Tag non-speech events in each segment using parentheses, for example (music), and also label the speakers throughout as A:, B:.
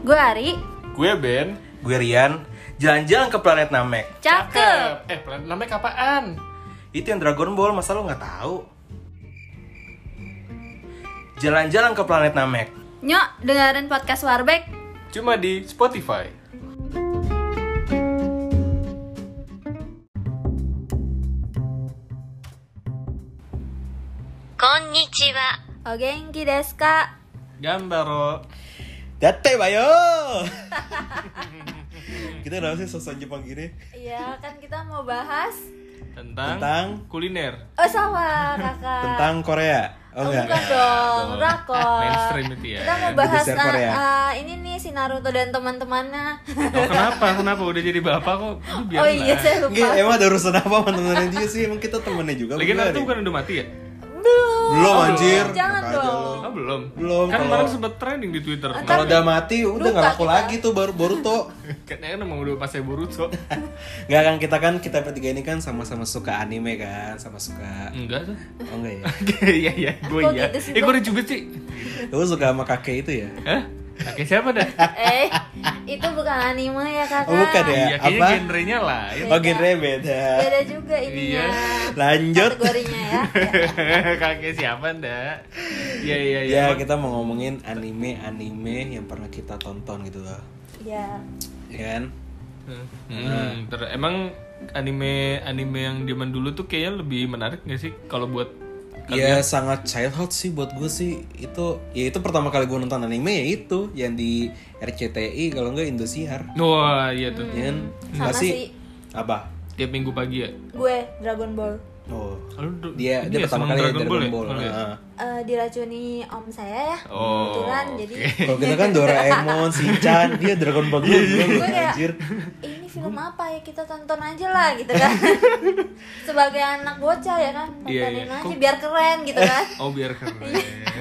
A: Gue Ari,
B: Gue Ben.
C: Gue Rian, jalan-jalan ke planet Namek.
A: cakep.
B: Eh, planet namanya kapan?
C: Itu yang Dragon Ball, masa lo nggak tahu? Jalan-jalan ke planet Namek.
A: Nyok, dengerin podcast Warbeck.
B: Cuma di Spotify.
A: O genki desu ka?
B: Gambar lo.
C: Date bayo. (laughs) Kita kenapa sih sosok Jepang gini?
A: Iya, kan kita mau bahas
B: Tentang,
C: Tentang?
B: kuliner.
A: Oh sama kakak
C: Tentang Korea.
A: Oh, bukan dong, rakor
B: Mainstream itu
C: iya.
B: ya.
A: Eh, Kita mau bahas
C: Produser
A: ah,
C: Korea.
A: ah, ini nih si Naruto dan teman-temannya
B: (laughs) Oh, kenapa? Kenapa udah jadi bapak kok? Udah
A: Oh
B: biarin
A: iya,
B: lah.
A: saya
C: Nggak,
A: lupa
C: emang ada urusan apa sama temennya dia sih? Emang kita temennya juga
B: Legenda
C: berdua
B: itu
C: nih.
B: bukan udah mati ya?
A: Belum
C: Belum anjir.
A: Jangan
C: Enak aja
A: dong
B: Oh, belum.
C: Belum,
B: Kan
C: kalau-
B: kemarin sempet trending di Twitter.
A: Ntar-
C: Kalau udah mati udah
A: Lupa
C: nggak laku
A: kita.
C: lagi tuh (laughs) baru Boruto.
B: Kayaknya kan emang udah pas saya Boruto.
C: Nggak kan kita kan kita bertiga ini kan sama-sama suka anime kan, sama suka.
B: Enggak tuh.
C: Oh enggak ya.
B: (laughs) Iya iya, gue
A: Kok
B: iya.
A: gitu sih,
B: Eh, gue udah cubit sih.
C: Lu suka sama kakek itu ya?
B: Hah? Oke, siapa dah?
A: Eh, itu bukan anime ya kakak
C: Oh, bukan (laughs) ya?
B: Iya, kayaknya
C: apa?
B: genrenya lain. (laughs)
C: Oh genre beda.
A: Beda juga ininya
C: Iya. Lanjut.
A: Kategorinya ya
B: Kakek siapa ndak? Iya iya iya.
C: Ya kita mau ngomongin anime-anime yang pernah kita tonton gitu loh.
A: Iya
C: Ya kan?
B: Hmm, ter- emang anime anime yang zaman dulu tuh kayaknya lebih menarik gak sih kalau buat Iya.
C: Ya sangat childhood sih buat gue sih itu ya itu pertama kali gue nonton anime ya itu yang di RCTI kalau enggak Indosiar.
B: Wah, iya tuh.
C: Ya kan? Nggak
A: Sama
C: sih?
A: sih.
C: Apa?
B: Tiap minggu pagi ya.
A: Gue, Dragon Ball
C: Oh.
B: Lalu du-
C: Dia
B: ini
C: dia
B: ya,
C: pertama
B: seneng
C: kali Dragon, Ball. Ah.
B: ya? Oh, iya.
C: Heeh.
A: Eh, diracuni om saya ya
B: Oh,
A: kebetulan
B: oke.
A: jadi
C: Kalau kita kan Doraemon, Shinchan, dia Dragon Ball dulu
A: Gua kayak-
C: anjir.
A: (laughs) ini film apa ya kita tonton aja lah gitu
C: (laughs)
A: kan sebagai anak bocah ya kan tontonin
B: Iya, iya.
A: aja
B: Kok- Iya.
A: biar keren gitu
B: (laughs)
A: kan
B: Oh, biar
C: (laughs)
B: keren.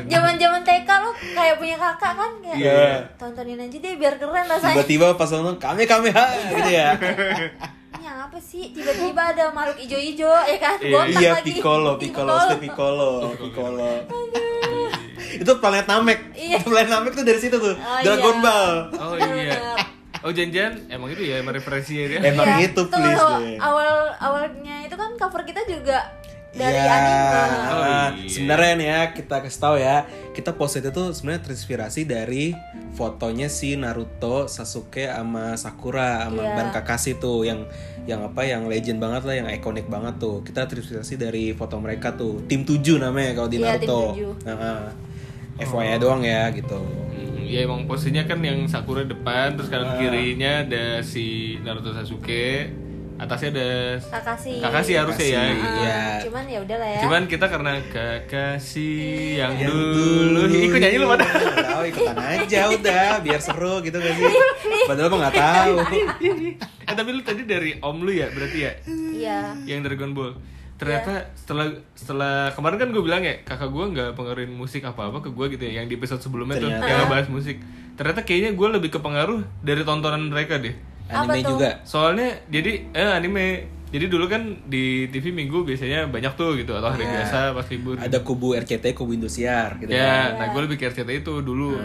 A: zaman zaman TK lu kayak punya kakak kan kayak
C: Iya.
A: tontonin aja deh biar keren rasanya
C: Tiba-tiba pas nonton kami kami ha gitu ya.
A: ini apa sih tiba-tiba ada makhluk ijo-ijo ya kan
B: Iya,
A: botak
C: iya
A: lagi
C: Piccolo, Piccolo, Steve Piccolo, Piccolo. Itu planet Namek.
A: Iya.
C: Itu planet Namek tuh dari situ tuh.
A: Oh,
C: Dragon
A: iya.
C: Ball.
B: Oh iya. Oh janjian emang itu ya emang referensinya dia.
C: Emang
A: Iya,
C: itu
A: tuh
C: please
A: kalau
C: deh.
A: awal awalnya itu kan cover kita juga dari
C: Iya.
A: anime
B: Oh, iya.
C: Sebenarnya nih ya kita kasih tahu ya, kita post itu tuh sebenarnya terinspirasi dari fotonya si Naruto, Sasuke sama Sakura sama
A: Iya.
C: Ban Kakashi tuh yang yang apa yang legend banget lah, yang ikonik banget tuh. Kita terinspirasi dari foto mereka tuh. Tim 7 namanya kalau di
A: Iya, Tim
C: Naruto.
A: 7.
C: Heeh. FYI
B: Oh.
C: doang ya gitu.
B: Hmm, Ya emang posisinya kan yang Sakura depan terus
C: Ah.
B: kanan kirinya ada si Naruto Sasuke, atasnya ada
A: Kakashi
B: Kakashi harusnya ya.
C: Kakashi.
B: gitu.
C: Iya.
A: cuman ya udahlah ya
B: Cuman kita karena Kakashi yang, dulu, ikut nyanyi lu pada.
C: Iya, (laughs) Tahu ikutan aja udah biar seru gitu kan
A: (laughs)
C: sih. Padahal mah nggak tahu.
B: eh tapi lu tadi dari om lu ya berarti ya
C: Hmm.
A: iya
B: yang Dragon Ball
C: Ya.
B: ternyata setelah setelah kemarin kan gue bilang ya kakak gue nggak pengaruhin musik apa apa ke gue gitu ya yang di episode sebelumnya tuh
C: Ternyata.
B: yang ngebahas musik ternyata kayaknya gue lebih kepengaruh dari tontonan mereka deh
C: Anime juga.
B: soalnya jadi eh anime jadi dulu kan di TV minggu biasanya banyak tuh gitu atau hari biasa pas libur
C: Ya. Ada kubu RCT, kubu Indosiar gitu. Hmm. kan.
B: ya nah gue lebih care cerita itu dulu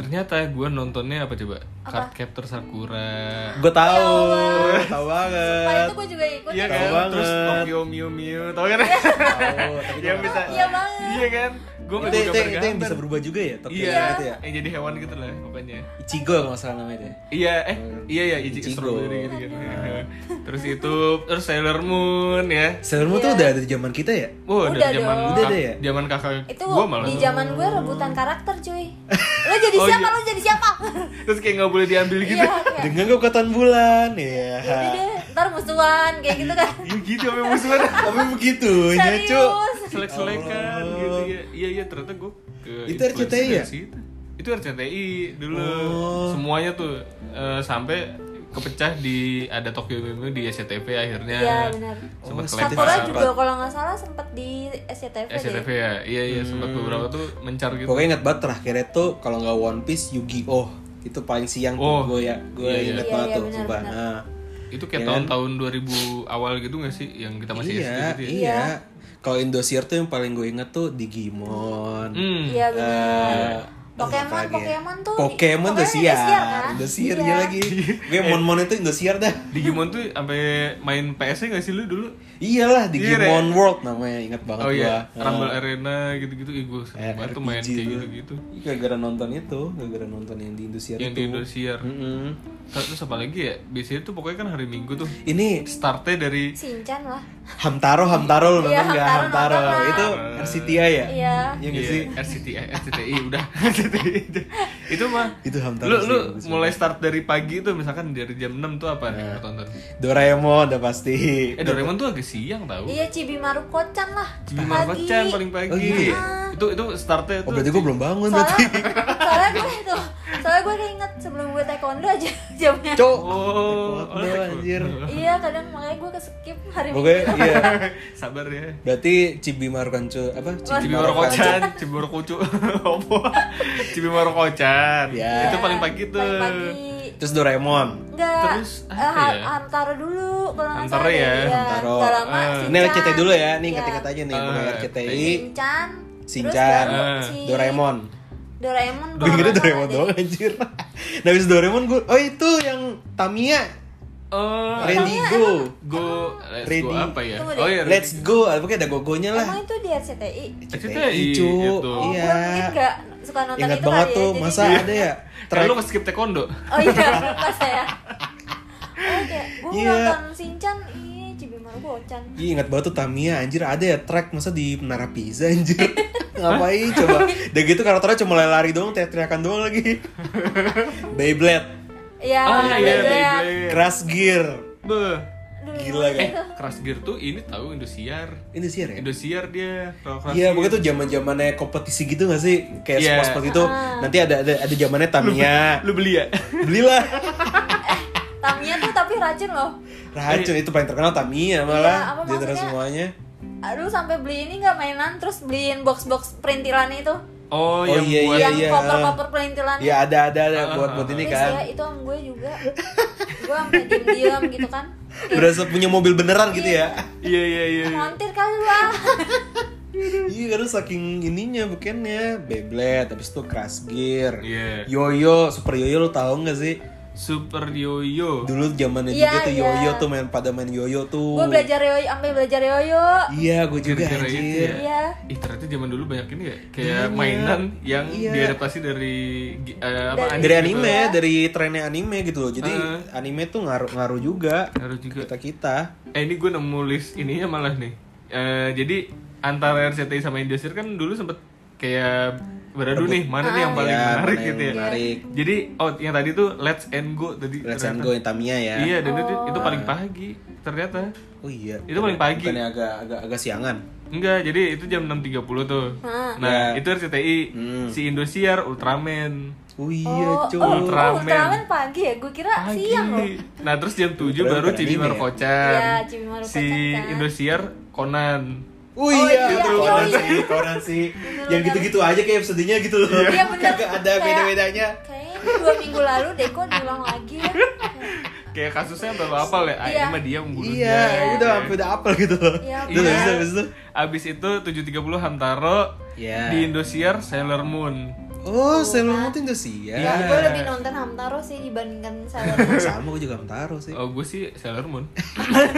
B: ternyata gue nontonnya apa coba Card Captor Sakura
C: Gue tahu,
A: Ya
C: tahu
A: Wah,
C: banget.
A: itu gue juga ikut
B: Iya
A: ya.
B: kan?
C: Tahu banget.
B: Terus Tokyo Miu Miu, tau (laughs) kan?
C: Tahu, tapi gua
B: Yang
C: nggak
B: bisa.
C: tahu.
A: Iya banget.
B: Iya kan? Gue
C: Itu, itu, itu yang bisa berubah juga ya, Tokyo
B: Iya,
C: itu ya.
B: yang jadi hewan gitu lah pokoknya.
C: Ichigo kalau nggak salah namanya itu. ya.
B: Iya, eh, iya ya, Ichi
C: Ichigo.
B: strawberry gitu gitu. (laughs) Terus itu, terus Sailor Moon ya.
C: Sailor Moon
A: Iya.
C: tuh udah ada di zaman kita ya.
B: Wah,
A: Udah
B: dari zaman
A: dong.
C: Udah deh ya?
B: zaman kakak
A: Itu
B: gua malah.
A: di zaman gue rebutan karakter
B: (laughs)
A: cuy. Lo jadi
B: Oh,
A: siapa?
B: iya.
A: Lo jadi siapa?
B: Terus kayak nggak boleh diambil (laughs) gitu.
A: Iya. kayak,
C: Dengan kekuatan bulan, ya.
A: Yaudah deh, ntar musuhan kayak gitu kan.
B: (laughs) Iya gitu sampai musuhan.
C: Tapi begitu, ya cu.
A: Serius.
B: Selek-selekan
C: Allah.
B: gitu ya. Iya iya ternyata gue ke
C: Itu RCTI
B: influence
C: ya?
B: dari situ. Itu RCTI dulu.
C: Oh.
B: Semuanya tuh eh, sampai kepecah di ada Tokyo Meme di SCTV akhirnya.
A: Iya benar.
B: Sempat
C: Oh,
A: Sakura
B: kelepas.
A: juga kalau nggak salah sempet di SCTV deh.
B: SCTV ya. Iya iya sempat beberapa tuh mencar gitu.
C: Hmm. Pokoknya ingat banget terakhirnya tuh kalau nggak One Piece, Yu-Gi-Oh itu paling siang
B: Oh.
C: tuh gue ya, gue
B: Iya, iya.
C: inget
A: Iya,
C: banget
A: iya,
C: tuh,
A: benar,
C: sumpah.
A: benar.
C: Nah.
B: Itu kayak tahun-tahun 2000 awal gitu gak sih yang kita masih SD
C: Iya,
B: gitu ya?
C: iya. Kalau Indosiar tuh yang paling gue inget tuh Digimon.
B: Hmm.
A: Iya benar.
C: Eh,
A: Pokemon,
C: apalagi ya?
A: Pokemon tuh di-
C: Pokemon udah siar,
A: Indosiar, kan?
C: Indosiar
A: Iya.
C: dia lagi.
B: Eh.
C: Gue mon-mon itu Indosiar dah.
B: Digimon tuh sampai main PS-nya gak sih lu dulu?
C: Iyalah di
B: Iya,
C: Digimon World namanya, ingat banget
B: Oh iya,
C: gua. Nah.
B: Rumble Arena gitu-gitu Ih gue
C: Eh,
B: sering banget tuh
C: RPG
B: main kayak
C: tuh.
B: gitu-gitu
C: Gara-gara nonton itu, gara-gara nonton yang di Indosiar
B: Yang
C: itu.
B: di Indosiar
C: Mm-mm.
B: Terus apa lagi ya, biasanya tuh pokoknya kan hari Minggu tuh
C: Ini
B: Startnya dari
A: Shinchan lah.
C: Hamtaro, Hamtaro lu nonton
A: Iya,
C: nggak?
A: Hamtaro,
C: Hamtaro,
A: nonton lah.
C: itu RCTI ya?
A: Iya.
C: Iya nggak
B: Eh.
C: sih?
B: Iya, RCTI, RCTI udah (laughs) RCTI itu. Itu mah
C: Itu Hamtaro
B: Lu,
C: sih,
B: lu
C: bagus
B: mulai start dari pagi tuh misalkan dari jam 6 tuh apa
C: Iya.
B: nih lu tonton?
C: Doraemon udah pasti.
B: Eh Doraemon tuh agak siang tau
A: Iya Cibimaru Kocan lah.
B: Cibimar
A: Pagi.
B: Macan Oh. paling pagi
C: Oh, gitu ya?
B: Itu itu startnya
C: Oh
B: tuh
C: berarti gue belum bangun
A: Soalnya,
C: berarti.
A: soalnya gue itu, soalnya gue keinget sebelum gue taekwondo aja (laughs) jamnya.
C: Cok.
B: Oh,
C: Taekwondo,
B: (laughs)
C: anjir.
A: Iya kadang makanya gue keskip hari
C: Pokoknya
A: Minggu.
C: iya.
B: Sabar ya
C: Berarti Cibimar Kancu apa?
B: Cibimar Kocan, Cibimar Kucu (laughs) Apa? Cibimar Kocan
A: (laughs)
C: Ya.
B: Itu paling pagi tuh
A: Paling pagi.
C: Terus Doraemon.
A: Enggak.
B: Terus apa
A: eh, ha-
B: ya?
A: Hamtaro dulu kalau nggak
B: Hamtaro
A: salah
B: ya,
A: iya.
C: Hamtaro.
A: Nggak lama.
B: Eh.
A: Shinchan.
C: Ini RCTI dulu ya, nih
A: Iya.
C: ingat-ingat aja nih
B: Ah,
C: mulai RCTI,
A: Shinchan.
C: Shinchan,
A: terus baru
B: Ah.
A: si-
C: Doraemon.
A: Doraemon.
C: Gue
A: kalau nggak
C: ingetnya
A: salah
C: Doraemon
A: deh.
C: doang anjir. Nah, habis Doraemon gue, oh itu yang Tamiya,
B: Oh,
C: Ready Go.
B: Go, let's go
C: Ready.
B: apa ya?
A: Tunggu deh.
B: Oh iya,
C: Let's go, Ah, pokoknya ada gogonya lah.
A: Emang itu di RCTI?
B: RCTI,
C: cu.
B: itu.
A: Oh,
C: Iya.
A: gue mungkin nggak suka nonton
C: Ingat
A: itu
C: banget
A: kali ya,
C: tuh,
A: jadi
C: masa
A: nggak-
C: ada
B: (laughs)
C: ya?
B: Kalau
C: Track
B: lu skip taekwondo.
A: Oh iya, (laughs) lupa saya. Oke, gue
C: Iya.
A: nonton Shinchan, ih Cibimaru Kocan.
C: Iya ingat banget tuh Tamiya anjir ada ya track masa di Menara Pisa
B: (laughs)
C: anjir (laughs) Ngapain coba Udah gitu karakternya cuma lari-lari doang teriak-teriakan doang lagi
B: (laughs)
C: Beyblade
A: Iya,
B: ah iya,
A: Beyblade.
B: Beyblade.
C: Crash Gear
B: Beuh.
A: Dulu
C: Gila kan?
A: itu.
B: Eh, Crash Gear tuh ini tahu Indosiar.
C: Ini sih ya
B: Indosiar dia. kalau Crash
C: Iya
B: Gear.
C: pokoknya tuh zaman zamannya kompetisi gitu gak sih Kayak
B: Iya.
C: sport-sport itu
A: Ah.
C: Nanti ada ada ada zamannya Tamiya
B: (laughs) Lu beli ya?
C: Belilah
A: Tamiya tuh tapi racun loh.
C: Racun
B: Iya.
C: itu paling terkenal Tamiya malah
A: Iya, apa
C: Di antara
A: maksudnya?
C: semuanya
A: Aduh sampai beli ini nggak mainan, terus beliin box-box perintilan itu,
B: Oh,
C: Oh,
B: yang
C: iya,
B: buat
A: yang
C: iya.
A: koper-koper perintilan.
C: Ya ada ada ada
B: Ah,
C: buat
B: ah,
C: buat
B: ah.
C: ini
A: Please ya,
C: kan
A: itu om gue juga. gue sampai diem-diem gitu kan. Kayak,
C: Berasa punya mobil beneran gitu ya
B: Iya iya iya.
A: Montir kali lah.
C: Iya karena saking ininya bukannya Beyblade, habis itu Crash Gear
B: Iya.
C: Yoyo, Super Yoyo lo tau gak sih?
B: Super Yoyo.
C: Dulu zamannya
A: Iya,
C: juga tuh
A: iya.
C: Yoyo tuh main pada main Yoyo tuh
A: gue belajar yoyo, sampai belajar yoyo.
C: Iya gue juga
B: Gara-gara itu
C: anjir
B: ya.
A: Iya.
B: Ih ternyata zaman dulu banyak ini ya kayak mainan yang
C: Iya.
B: diadaptasi dari gi- eh,
A: Dari-
B: apa
C: Dari
B: gitu.
C: anime, dari trennya anime gitu loh Jadi
B: Heeh.
C: anime tuh ngaruh-ngaruh juga
B: Harus juga.
C: Kita-kita
B: Eh ini gue nemu list ininya malah nih. Eh jadi antara RCTI sama Indosiar kan dulu sempet kayak beradu nih mana nih yang paling
C: Iya,
B: menarik
C: mana yang
B: gitu ya.
C: menarik.
B: Jadi oh yang tadi tuh Let's and Go tadi.
C: Let's
B: ternyata.
C: and Go yang Tamiya ya
B: Iya dan itu itu paling pagi ternyata.
C: Oh iya
B: Itu paling pagi.
C: Bukannya agak, agak, agak siangan
B: Enggak, jadi itu jam 6.30 tuh.
A: Ah.
C: Ya.
B: Nah, itu RCTI.
C: Hmm.
B: Si Indosiar Ultraman.
C: Oh iya
A: oh,
C: cuy Iya.
A: oh,
B: Ultraman.
A: Oh, Ultraman pagi ya, gue kira siang loh.
B: Nah, terus jam 7
C: Ultraman
B: baru
C: bukan
B: Cibimar
C: anime ya?
B: Kocan.
A: Iya, Cibimar
B: Si
A: Kocan kan.
B: Indosiar Conan.
C: Oh iya,
A: iya,
C: itu
A: iya,
C: koran
A: iya.
C: sih, koran sih. Yang gitu-gitu aja kayak episodenya gitu loh.
A: Iya, bener.
C: Kagak (laughs) ada
A: Kayak-
C: beda-bedanya.
A: Kayaknya ini dua minggu lalu Deko diulang lagi ya.
B: Kayak kasusnya apa apal ya? Ah,
A: Iya.
B: ini mah dia membunuhnya.
C: Iya, udah
B: gitu.
C: sampai udah apel gitu loh.
A: Iya,
C: Udah
A: bener.
C: habis itu, habis itu.
B: Abis itu 7.30 Hamtaro
C: Iya.
B: di Indosiar Sailor Moon.
C: Oh, Sailor Moon tuh Indonesia.
B: Iya.
A: Ya, gue lebih nonton Hamtaro sih dibandingkan Sailor
C: (laughs)
A: Moon.
C: Sama gue juga Amtaro sih.
B: Oh, gue sih Sailor Moon. (laughs)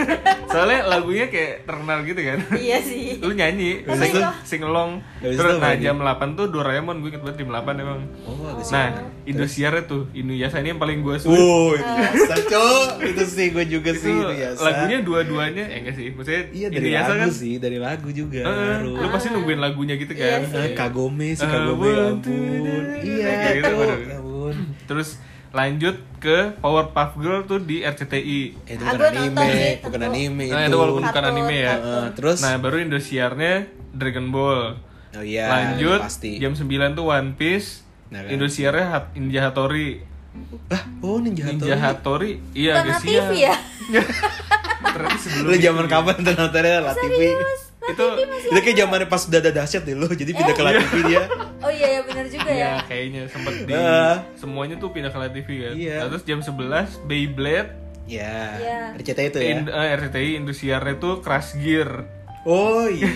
B: Soalnya lagunya kayak terkenal gitu kan.
A: iya sih.
B: lu nyanyi
C: Habis
B: sing,
C: itu?
B: sing along
C: Habis
B: terus
C: itu
B: nah
C: lagi?
B: jam 8 tuh Doraemon gue inget banget jam 8 emang
C: Oh, agak
B: nah
C: siangan.
B: Indosiar tuh Inuyasha ini yang paling gue suka
C: Wow,
A: Eh.
C: itu biasa, Cok. Itu sih gue juga
B: itu
C: sih itu biasa.
B: lagunya dua-duanya ya enggak sih maksudnya
C: Iya dari
B: Inuyasha
C: lagu
B: kan
C: sih, dari lagu juga.
B: eh,
C: Ngaruh.
B: lu pasti nungguin lagunya gitu kan
A: Iya
C: Eh, Kagome sih
B: Eh,
C: Kagome ya
B: one, two,
C: ampun.
B: three, kayak
C: Iya,
B: gitu,
C: Cok.
B: waduh.
C: Ya ampun.
B: terus lanjut ke Powerpuff Girl tuh di RCTI
C: Eh, itu
A: Ah, gua
C: bukan
A: nonton
C: anime,
A: sih,
C: bukan
A: tentu.
C: anime
B: nah itu walaupun bukan
A: Kartun,
B: anime ya
A: kartun.
C: Eh, terus
B: nah baru Indosiarnya Dragon Ball
C: Oh iya,
B: lanjut
C: pasti.
B: jam 9 tuh One Piece
C: Nah, kan.
B: Indosiarnya Hat- Ninja Hattori
C: Ah, oh Ninja Hattori.
B: Ninja Hattori iya
A: Bukan
B: agak
A: TV
B: siang.
A: ya?
B: Ternyata sebelum
C: (laughs) Lu zaman
B: itu.
C: kapan nonton nontonnya La TV?
B: itu
C: Itu kayak zamannya pas udah ada dahsyat deh lo, jadi pindah
A: Eh.
C: ke La TV
A: (laughs)
C: dia.
A: Oh iya ya benar juga ya.
B: ya kayaknya sempet di
C: Eh.
B: semuanya tuh pindah ke La TV kan
C: Iya.
B: Nah, terus jam 11 Beyblade
C: Ya,
A: Iya.
C: RCTI itu ya.
B: in- eh, RCTI Indosiarnya tuh Crash Gear
C: Oh iya,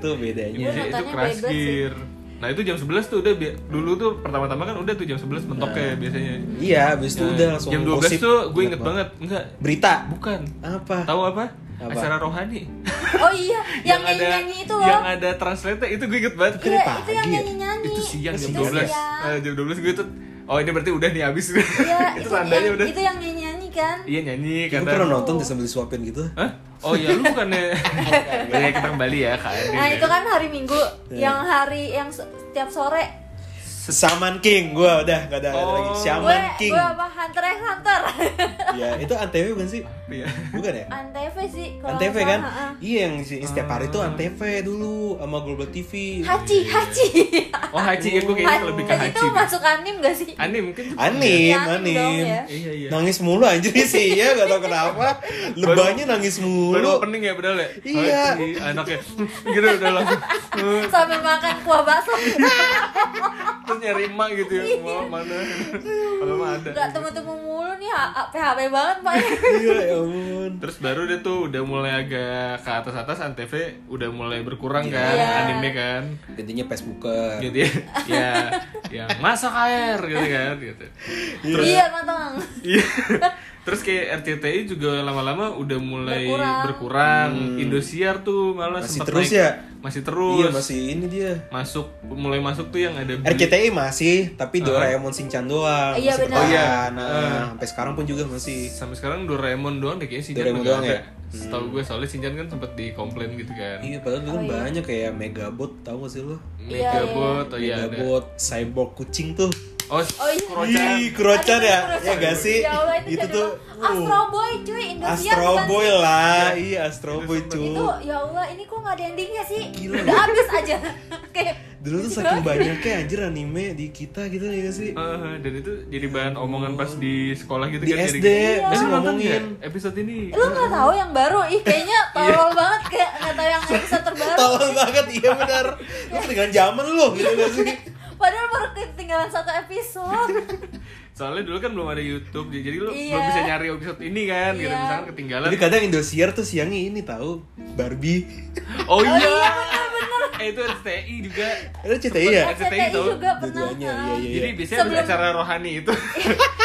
C: itu
B: (laughs)
C: bedanya.
A: Gua
B: Indonesia Iya, itu
A: nontonnya
B: Crash
A: Beyblade sih.
B: Gear Nah itu jam 11 tuh udah bi- dulu tuh pertama-tama kan udah tuh jam 11
A: Nah.
B: mentoknya biasanya.
C: Iya, abis itu
B: Nah,
C: udah langsung
B: jam 12
C: gosip.
B: tuh gue inget banget. Enggak,
C: Berita.
B: bukan.
C: Apa?
B: Tahu apa?
C: Apa?
B: Acara
A: (laughs)
B: rohani.
A: Oh
B: (laughs)
A: iya, yang nyanyi-nyanyi itu loh.
B: Yang ada translate itu gue inget banget.
A: Iya,
C: Kenapa?
A: itu yang
C: Iya.
A: nyanyi-nyanyi.
B: Itu siang jam
A: Itu
B: 12.
A: siang.
B: Eh, jam 12 gue tuh Oh ini berarti udah nih abis (laughs)
A: Iya,
B: Itu
A: itu,
B: tandanya
A: yang,
B: udah
A: itu yang nyanyi-nyanyi kan?
B: Iya nyanyi
C: Gue
B: kata
C: pernah nonton tuh sambil disuapin gitu.
B: Hah? Oh iya lu
C: (laughs)
B: bukannya Boleh kita kembali ya Kak Andin
A: Nah,
B: ya.
A: itu kan hari Minggu,
B: Iya.
A: yang hari yang se- setiap sore.
C: Saman King, gue udah gak ada, gak ada
B: Oh.
C: lagi.
A: Gue
C: Shaman King.
A: gue apa Hunter x Hunter. (laughs)
C: Ya, itu antv bukan sih?
B: Iya.
C: Bukan ya?
A: Antv sih kalau
C: Antv
A: nggak
C: kan?
A: salah, ha-ha.
C: Iya yang si- setiap hari tuh Antv dulu sama Global TV.
A: Hachi, Hachi.
B: Oh Haji ya gue kayaknya lebih ke
A: Hachi Eh,
B: Haji
A: itu masuk anim gak sih?
B: Ani mungkin
C: Anin,
A: Ya, Anin dong
C: Anin.
A: ya.
B: Iya iya
C: Nangis mulu anjir
A: (laughs)
C: sih ya, gak tau kenapa. Lebahnya nangis
B: Baru
C: mulu.
B: opening ya padahal ya
C: Iya.
B: Oh, iya, Anaknya (laughs) Gitu udah langsung Eh,
A: Sambil makan kuah
B: (laughs)
A: bakso.
B: Terus nyari emak gitu ya Mau mana Kalau mah ada
A: Gak temu-temu mulu nih, ha- PHB banget Pak.
C: Iya, ya ampun.
B: Terus baru dia tuh udah mulai agak ke atas-atas Antv udah mulai berkurang kan
A: Iya.
B: anime kan
C: Intinya Facebooker.
B: gitu ya (laughs) ya yang masak air gitu kan gitu terus
A: Iya, matang.
B: iya. terus kayak RCTI juga lama-lama udah mulai
A: Berkurang.
B: berkurang, Indosiar tuh malah
C: Hmm. Masih
B: sempat
C: terus
B: naik.
C: ya?
B: masih terus
C: Iya, masih ini dia.
B: masuk mulai masuk tuh yang ada beli-
C: RCTI masih, tapi Doraemon Shinchan doang.
A: Iya,
C: masih
A: benar.
C: bertahan.
B: Oh, iya.
C: Nah, sampai sekarang pun juga masih.
B: sampai sekarang Doraemon doang deh kayaknya Shinjan
C: Doraemon
B: udah
C: doang
B: ada.
C: ya?
B: setahu gue soalnya Shinjan kan sempat dikomplain gitu kan
C: Iya,
A: Oh,
C: padahal dulu kan banyak kayak Megabot, tahu gak sih lo?
B: Megabot oh iya ada
C: Megabot, Cyborg kucing tuh.
B: oh,
A: Oh, iya.
B: Krocan.
C: Ih, Krocan
A: Aduh,
C: ya?
A: Krocan.
C: Ya gak sih?
A: Ya Allah, itu,
C: Itu
A: dari
C: tuh uh.
A: dulu. Astro Boy cuy, Indosiar
C: Astro
A: bukan
C: Boy
A: sih?
C: lah. Iya, Astro Boy
A: Itu
C: cuy.
A: ya Allah, ini kok gak ada endingnya sih?
C: Gila.
A: Udah habis aja. (laughs) Kayak
C: Dulu tuh saking banyaknya anjir anime di kita gitu ya gak sih?
B: Eh, dan itu jadi bahan omongan pas di sekolah gitu
C: Di
B: kan jadi-
C: SD, masih
B: Lu nonton
C: ngomongin.
B: nggak episode ini
A: lu nggak tahu yang baru ih
C: (laughs)
A: kayaknya
C: Iya.
A: tolol banget kayak nggak tahu yang episode terbaru
C: Tolong banget, iya benar. Lu ketinggalan zaman lu gitu gak
B: (laughs)
C: sih?
A: padahal baru ketinggalan satu
C: (laughs)
A: episode
B: Soalnya dulu kan belum ada YouTube, jadi jadi lu
A: Iya.
B: belum bisa nyari episode ini kan, gitu
A: Iya.
B: misalkan ketinggalan.
C: Jadi kadang Indosiar tuh siangnya ini tahu Barbie.
B: Oh iya,
A: iya,
B: Eh, itu RCTI juga.
C: Ada CTI ya?
B: Sempet RCTI
A: RCTI
B: tau.
A: juga pernah
C: Dua-duanya, iya iya.
B: Jadi
C: iya.
B: biasanya ada
A: Sebelum-
B: acara rohani
A: (laughs)
B: itu.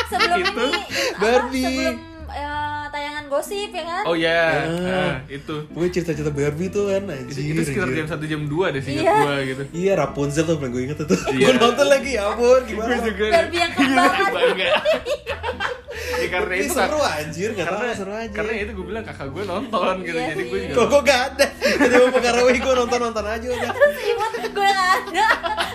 A: sebelum
B: Itu.
A: ini apa,
C: Barbie.
A: sebelum eh, tayangan gosip ya kan
B: Oh iya,
C: Ah.
B: Nah, itu.
C: Gue cerita-cerita Barbie tuh kan
B: Itu,
C: anjir.
B: itu sekitar
C: anjir.
B: jam satu jam dua deh sih
A: Iya.
B: gua gitu.
C: Iya Rapunzel tuh paling gue inget tuh.
B: Iya.
C: (laughs) gue nonton lagi ya ampun
B: Gue
C: gimana.
B: juga
A: Barbie yang
C: Iya.
A: kembaran.
B: bangga. ya karena
C: Ini
B: itu
C: seru anjir, gak tau
B: karena
C: seru aja.
B: karena itu gue bilang kakak gue nonton gitu,
A: Iya
B: jadi gue
A: sih.
B: juga.
C: Kok gue gak ada? Jadi mau pengaruhi gue nonton-nonton aja udah.
A: terus imut gue nggak ada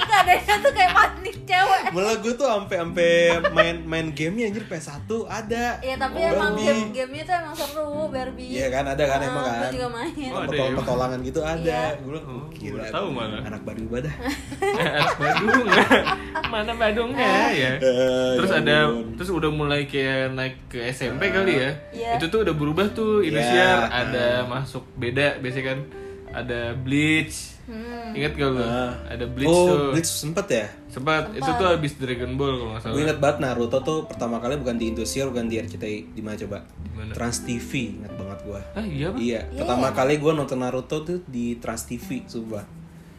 A: nggak ada tuh kayak panik cewek
C: Malah gue tuh ampe ampe main main gamenya anjir PS1 ada.
A: ya tapi
C: Oh,
A: emang
C: Barbie.
A: game gamenya tuh emang seru Barbie
C: Iya kan ada kan
A: Ah,
C: emang kan.
A: gue juga main
B: Oh, ada
C: Petol-
B: ya?
C: Petolangan gitu ada.
A: Iya.
C: Gue bilang
B: Oh,
C: oh,
B: gue
C: gila.
B: tahu malah.
C: Anak baru
A: (laughs)
C: ibadah.
B: Badung. Eh, (laughs) Mana Badungnya ya?
C: Eh,
B: terus
C: ya
B: ada
C: ampun.
B: terus udah mulai kayak naik ke SMP kali ya
A: Iya.
B: itu tuh udah berubah tuh Indosiar
C: Iya.
B: ada masuk beda biasanya kan ada Bleach ingat gak lu
C: Ah.
B: ada Bleach
C: oh,
B: tuh
C: Bleach sempet ya?
B: sempat itu tuh habis Dragon Ball kalau nggak
C: Gue
B: salah
C: inget banget Naruto tuh pertama kali bukan di Indosiar, bukan di RCTI. Di mana coba?
B: Dimana?
C: Trans TV, inget banget gue.
B: ah iya apa?
C: Iya, pertama kali gue nonton Naruto tuh di Trans TV, sumpah.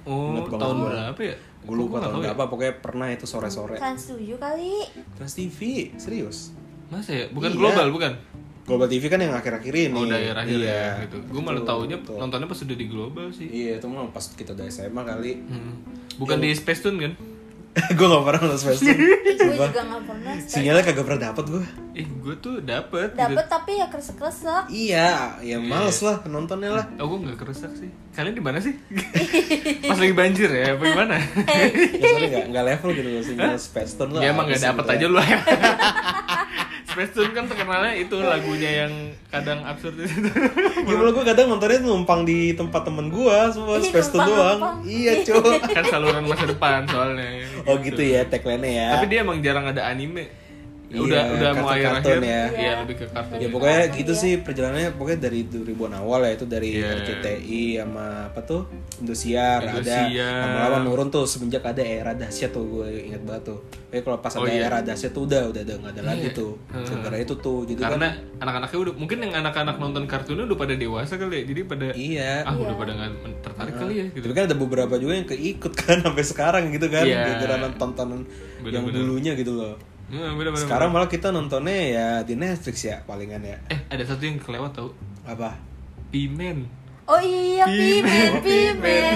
B: oh
C: Ingat banget
B: tahun
C: gua.
B: berapa ya
C: Gue lupa tahun berapa, pokoknya pernah itu sore-sore.
A: kan setuju kali
C: Trans TV, serius.
B: masa ya bukan
C: Iya.
B: global bukan
C: Global TV kan yang akhir-akhir ini.
B: oh daerah akhir
C: iya.
B: ya gitu gue malah taunya nontonnya pas udah di global sih
C: Iya, itu mah pas kita udah SMA kali. (laughs)
B: Hmm. bukan di Space Tune kan
C: gue gak pernah nonton Space Jam.
A: gue juga nggak pernah
C: Sinyalnya kagak pernah dapet gue.
B: ih gue tuh dapet, gitu.
A: dapet tapi ya kresek kresek
C: Iya, ya males lah nontonnya lah.
B: Aku Oh, nggak kerusak sih. Kalian di mana sih? Pas lagi banjir ya, apa gimana?
C: Ya, soalnya gak, gak level gitu loh, sinyal Space Jam lah.
B: (laughs) ya emang nggak
C: Apa sih
B: dapet
C: gitu
B: aja
C: ya.
B: lu. Space Tune kan terkenalnya itu lagunya yang kadang absurd itu. (laughs)
C: Gimana gue Iya, kadang nontonnya numpang di tempat temen gue semua
A: Ih,
C: Space Jam doang.
A: numpang-numpang.
C: Iya, cuy.
B: kan saluran masa depan soalnya.
C: Iya. Oh gitu ya tagline-nya ya.
B: Tapi dia emang jarang ada anime. Ya, udah
C: Iya,
B: udah mau akhir
C: kartun-kartun
B: akhir
C: ya.
B: iya lebih ke kartun
C: Ya pokoknya gitu sih perjalanannya pokoknya dari 2000-an awal ya itu dari
B: Iya.
C: RCTI sama apa tuh Indosiar, ada
B: Indosiar.
C: lama-lama nurun tuh semenjak ada era dahsyat tuh gue ingat banget tuh. Tapi kalau pas
B: Oh,
C: ada
B: iya.
C: era dahsyat tuh udah udah udah nggak ada lagi tuh. Sebenarnya itu tuh jadi kan
B: karena anak-anaknya udah mungkin yang anak-anak nonton kartunnya udah pada dewasa kali ya jadi pada
C: iya.
B: ah udah pada nggak men- tertarik kali ya gitu
C: Tapi kan ada beberapa juga yang keikut (laughs) kan sampai sekarang gitu kan
B: Iya.
C: gara-gara nonton-nontonan yang dulunya gitu loh.
B: Nah, bener -bener.
C: Sekarang malah kita nontonnya ya di Netflix ya palingan ya.
B: eh ada satu yang kelewat tau
C: Apa? (laughs)
B: pimen
A: Oh iya, pimen, pimen.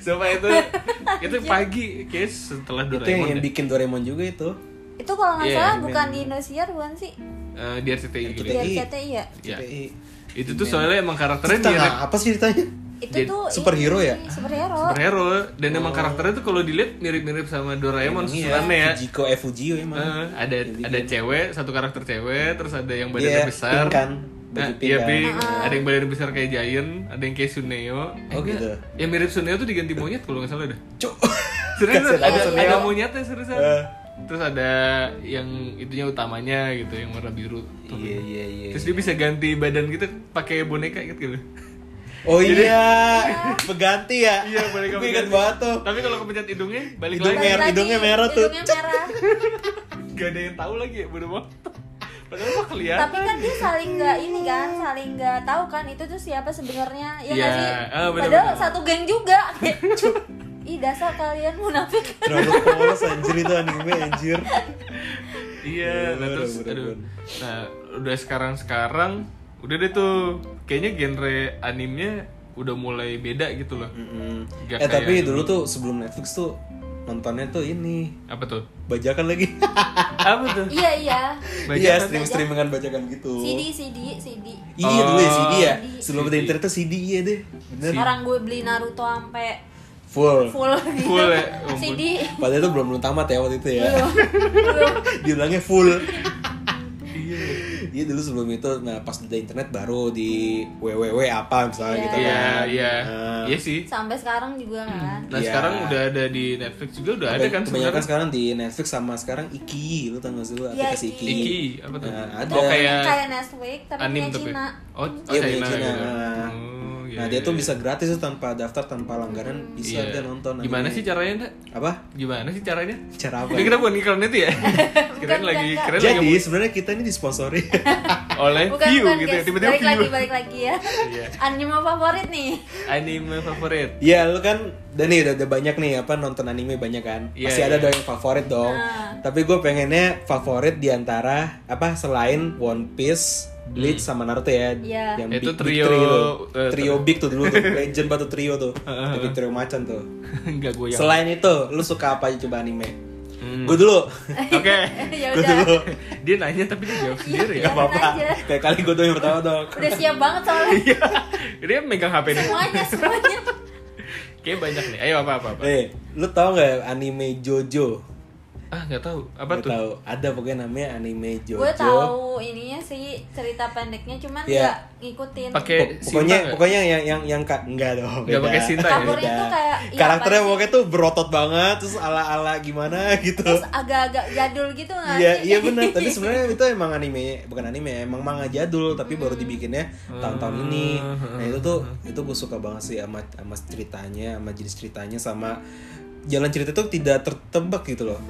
B: siapa itu (laughs) itu pagi kayak setelah
C: Itu yang, yang
B: Doraemon ya. deh.
C: bikin Doraemon juga itu.
A: Itu kalau nggak
B: Iya,
A: salah
C: pimen.
A: bukan di Indosiar bukan sih?
B: Eh, di RCTI gitu
A: Di
C: RCTI.
A: RCTI ya.
B: ya
C: Jadi,
B: itu tuh soalnya emang karakternya
C: Cerita
B: dia
C: apa sih ceritanya?
A: Itu
B: Jadi,
A: tuh
C: superhero
A: ini,
C: ya?
A: Superhero.
B: superhero dan
C: Oh.
B: emang karakternya tuh kalau dilihat mirip-mirip sama Doraemon susunannya ya
C: Iya, Fujiko eh Fujio emang.
B: Eh, ada ada cewek satu karakter cewek terus ada yang badannya
C: Dia
B: besar
C: pink kan?
B: Nah,
C: Baju pink
B: iya
C: kan?
B: pink. Ada yang badannya besar kayak Giant, ada yang kayak Suneo. Eh, enggak.
C: Oh, gitu.
B: Yang mirip Suneo tuh diganti monyet kalau nggak salah
C: (laughs)
B: dah. (laughs)
C: Cuk.
B: Serius
C: Kasian
B: ada
C: amat Suneo.
B: ada monyetnya seriusan.
C: Eh.
B: Terus ada yang itunya utamanya gitu, yang warna biru.
C: Iya iya iya.
B: Terus dia bisa ganti badan gitu pakai boneka
C: (laughs)
B: gitu.
C: Oh iya, peganti ya.
B: Iya, boneka
C: Gue ingat
B: peganti.
C: banget tuh.
B: Tapi kalau kepencet hidungnya balik
C: Hidung
B: lagi.
C: merah.
A: Lagi,
C: hidungnya merah tuh.
A: Hidungnya merah.
B: Gak ada yang tahu lagi ya, bodo amat. Padahal mah kelihatan.
A: Tapi kan dia saling nggak ini kan, saling nggak tahu kan itu tuh siapa sebenarnya. Ya
B: Iya,
A: nggak sih?
B: ah, bener-bener.
A: Padahal satu geng juga. Ih dasar kalian munafik.
C: Terlalu polos anjir itu anime anjir.
B: Iya, nah
C: Bener,
B: terus
C: bener,
B: aduh.
C: bener.
B: Nah, udah sekarang-sekarang udah deh tuh kayaknya genre animenya udah mulai beda gitu loh.
C: Mm.
B: Gak
C: Eh
B: kayak
C: tapi dulu tuh sebelum Netflix tuh nontonnya tuh ini
B: Apa tuh?
C: bajakan lagi.
B: Apa tuh?
A: iya iya.
C: Iya,
B: Bajakan.
C: stream streamingan bajakan gitu.
A: CD CD CD.
C: Iya dulu ya CD ya.
A: CD.
C: Sebelum ada
B: CD.
C: internet tuh CD iya deh. Bener.
A: Orang gue beli Naruto sampai
C: Full.
A: full gitu.
B: Full ya, ampun.
A: CD.
C: Padahal itu belum belum tamat ya waktu itu ya. (laughs)
A: Belum.
C: Diulangnya full.
B: Iya.
C: Iya dulu sebelum itu, nah pas ada internet baru di www apa misalnya gitu
B: Iya,
C: kan.
B: iya.
C: Nah,
B: Iya sih.
A: Sampai sekarang juga kan.
B: Nah,
C: Iya.
B: sekarang udah ada di Netflix juga udah ada kan
C: kebanyakan
B: sebenarnya.
C: sekarang di Netflix sama sekarang Iki, lu tau gak sih lu
A: Iya,
C: aplikasi
A: Iki.
C: Iki?
B: Iki, apa tuh?
C: Nah, ada.
B: Oh, kayak
A: Kayak next week tapi punya
B: anim tapi.
A: Cina.
B: Oh, oh
C: Iya, punya
B: China.
C: Cina.
B: gitu.
C: Nah.
B: Oh, iya,
C: Nah dia tuh
B: iya.
C: bisa gratis tuh tanpa daftar, tanpa langganan bisa
B: Iya.
C: dia nonton.
B: Gimana
C: anime.
B: sih caranya, Nak?
C: Apa?
B: Gimana sih caranya?
C: Cara apa?
B: Ini kita bukan iklan itu ya? (laughs)
A: Bukan,
B: Keren lagi,
A: bukan,
B: keren lagi
C: Jadi sebenarnya kita ini disponsori.
B: oleh
A: Bukan
B: view
A: bukan
B: gitu ya
A: guys.
B: tiba-tiba
A: balik
B: view
A: lagi balik lagi ya.
B: Iya.
A: Anime favorit nih. (laughs)
B: anime favorit (laughs)
C: Iya lu kan dan nih udah, udah banyak nih apa nonton anime banyak kan.
B: Iya,
C: Pasti ada
B: iya.
C: dong yang favorit dong.
A: Nah.
C: Tapi gue pengennya favorit diantara apa selain One Piece, Bleach sama Naruto ya.
A: Iya.
C: Yang
B: Hmm. Itu
C: big-
B: trio, Ah,
C: big three tuh.
B: eh,
C: trio big tuh
B: (laughs)
C: dulu tuh. Legend batu trio tuh. Tapi trio macan tuh.
B: enggak goyang oke
C: Selain itu, lu suka apa aja coba anime?
B: Hmm.
C: Gue
B: (laughs)
C: dulu.
A: ya
C: gue
A: udah.
C: dulu.
B: dia nanya tapi dia jawab sendiri
A: Iya.
B: ya
C: Gak apa-apa.
A: aja.
C: Kayak kali gue dulu yang pertama dong.
A: Udah siap banget soalnya.
B: Iya. dia megang hp nih
A: semuanya semuanya.
B: kayak banyak nih ayo apa apa, apa.
C: Eh, lu tau gak anime Jojo?
B: ah nggak tahu apa
C: Gak
B: tuh
C: tau. Ada pokoknya namanya anime Jojo.
A: gue tahu ininya sih cerita pendeknya cuman
C: Iya.
A: nggak ngikutin.
B: pakai
C: Pok- pokoknya
B: Sinta nggak?
C: pokoknya yang yang yang ka- enggak dong
B: Nggak
C: beda.
B: pakai Sinta ya?
A: Kaburnya
C: Beda.
A: tuh kayak, iya,
C: karakternya
A: apa sih?
C: pokoknya tuh berotot banget terus ala ala gimana gitu
A: Terus agak-agak jadul gitu nggak
C: Iya
A: sih?
C: iya
A: (laughs)
C: benar tapi sebenarnya itu emang anime bukan anime emang manga jadul tapi baru
A: Hmm.
C: dibikinnya tahun-tahun
B: Hmm.
C: ini nah itu tuh itu gue suka banget sih sama sama ceritanya sama jenis ceritanya sama jalan cerita tuh tidak tertebak gitu loh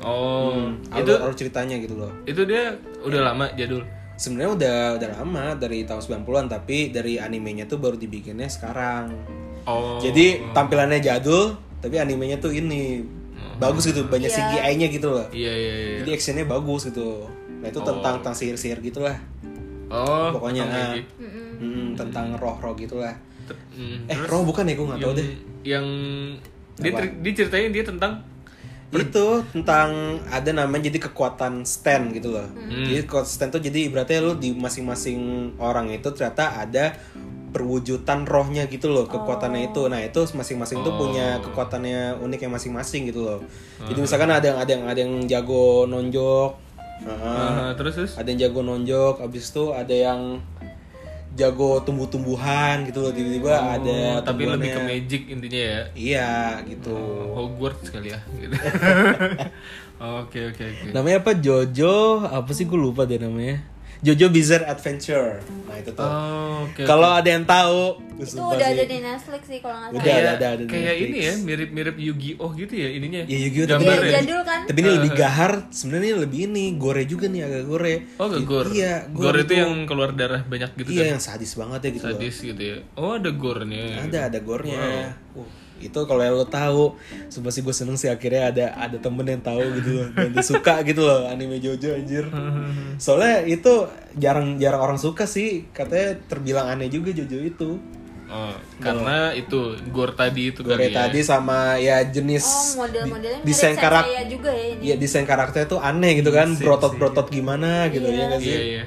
B: oh itu
C: alur, alur ceritanya gitu loh
B: itu dia udah lama jadul
C: sebenarnya udah udah lama dari tahun 90-an tapi dari animenya tuh baru dibikinnya sekarang
B: oh
C: Jadi tampilannya jadul, tapi animenya tuh ini bagus gitu, banyak CGI-nya gitu loh.
B: iya iya Hmm. iya
C: Jadi actionnya bagus gitu. Nah itu tentang tentang sihir-sihir gitulah,
B: oh
C: pokoknya
B: oke,
C: nah,
B: oke.
C: Mm, tentang roh-roh gitulah.
B: Ter- mm.
C: Eh roh bukan ya gue nggak tahu deh.
B: yang dia, cer- dia ceritain dia tentang Iya.
C: Itu tentang ada namanya jadi kekuatan stand gitu loh.
B: Hmm.
C: Jadi kekuatan stand tuh jadi ibaratnya lu di masing-masing orang itu ternyata ada perwujudan rohnya gitu loh kekuatannya itu. Nah itu masing-masing tuh
B: Oh.
C: punya kekuatannya unik yang masing-masing gitu loh. Jadi
B: Hmm.
C: misalkan ada yang ada yang ada yang jago nonjok, Heeh.
B: Ah, terus terus
C: ada yang jago nonjok, abis itu ada yang jago tumbuh-tumbuhan gitu loh tiba-tiba ada
B: Oh, tapi
C: tumbuhannya.
B: lebih Oh. ke magic intinya ya
C: iya gitu
B: Hogwarts kali ya
C: (laughs)
B: gitu. oke oke oke
C: namanya apa Jojo apa sih gue lupa deh namanya Jojo Bizarre Adventure nah itu tuh
B: Oh, oke
C: kalau ada yang tahu gue
A: itu
C: sumpah
A: udah
C: sih.
A: ada di Netflix sih kalau nggak salah
C: Udah,
B: kayak,
C: ada, ada di
B: kayak
C: Netflix.
B: ini ya mirip-mirip Yu-Gi-Oh gitu ya ininya
C: Ya, Yu-Gi-Oh tapi-
B: gambar
A: Iya,
B: ya
A: jadul kan
C: tapi ini lebih gahar sebenarnya lebih ini gore juga nih agak gore
B: oh gak gore
C: iya
B: gore itu yang keluar darah banyak gitu kan
C: iya yang sadis banget ya gitu loh.
B: sadis gitu ya oh ada gore-nya
C: ada ada gornya Uh, itu kalau lo tahu sumpah sih gue seneng sih akhirnya ada ada temen yang tahu gitu loh dan dia suka gitu loh anime Jojo
B: (laughs)
C: anjir soalnya itu jarang jarang orang suka sih katanya terbilang aneh juga Jojo itu
B: Oh, karena itu gore tadi itu
C: gore
B: kali ya.
C: tadi sama ya jenis
A: oh model-modelnya
C: di-
A: mirip
C: desain karak
A: saya juga ya ini
C: ya desain karakternya tuh aneh gitu kan brotot brotot gimana gitu ya nggak sih
B: Iya iya.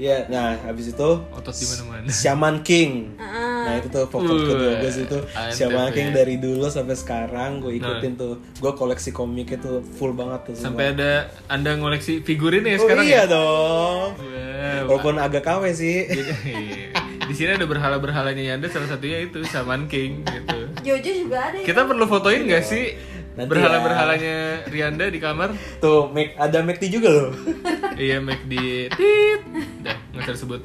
C: ya nah habis itu
B: Otot di mana-mana.
C: Shaman King.
A: Ah.
C: Nah itu tuh favorit kedua gue sih tuh
B: antep
C: Shaman
B: ya.
C: King dari dulu sampai sekarang gue ikutin tuh. Gue koleksi komiknya tuh full banget tuh.
B: Nah.
C: semua.
B: Sampai ada Anda ngoleksi figurin ya
C: Oh,
B: sekarang ya.
C: iya dong.
B: Wow.
C: Walaupun agak KW sih.
B: Iya. Di sini ada berhala-berhalanya ya, Anda salah satunya itu Shaman King gitu.
A: Jojo juga ada ya
B: Kita perlu fotoin gak sih
C: Nanti ya.
B: berhala-berhalanya Rianda di kamar?
C: Tuh make ada make tea juga loh. (laughs)
B: iya, make di tit. Dah, nggak tersebut.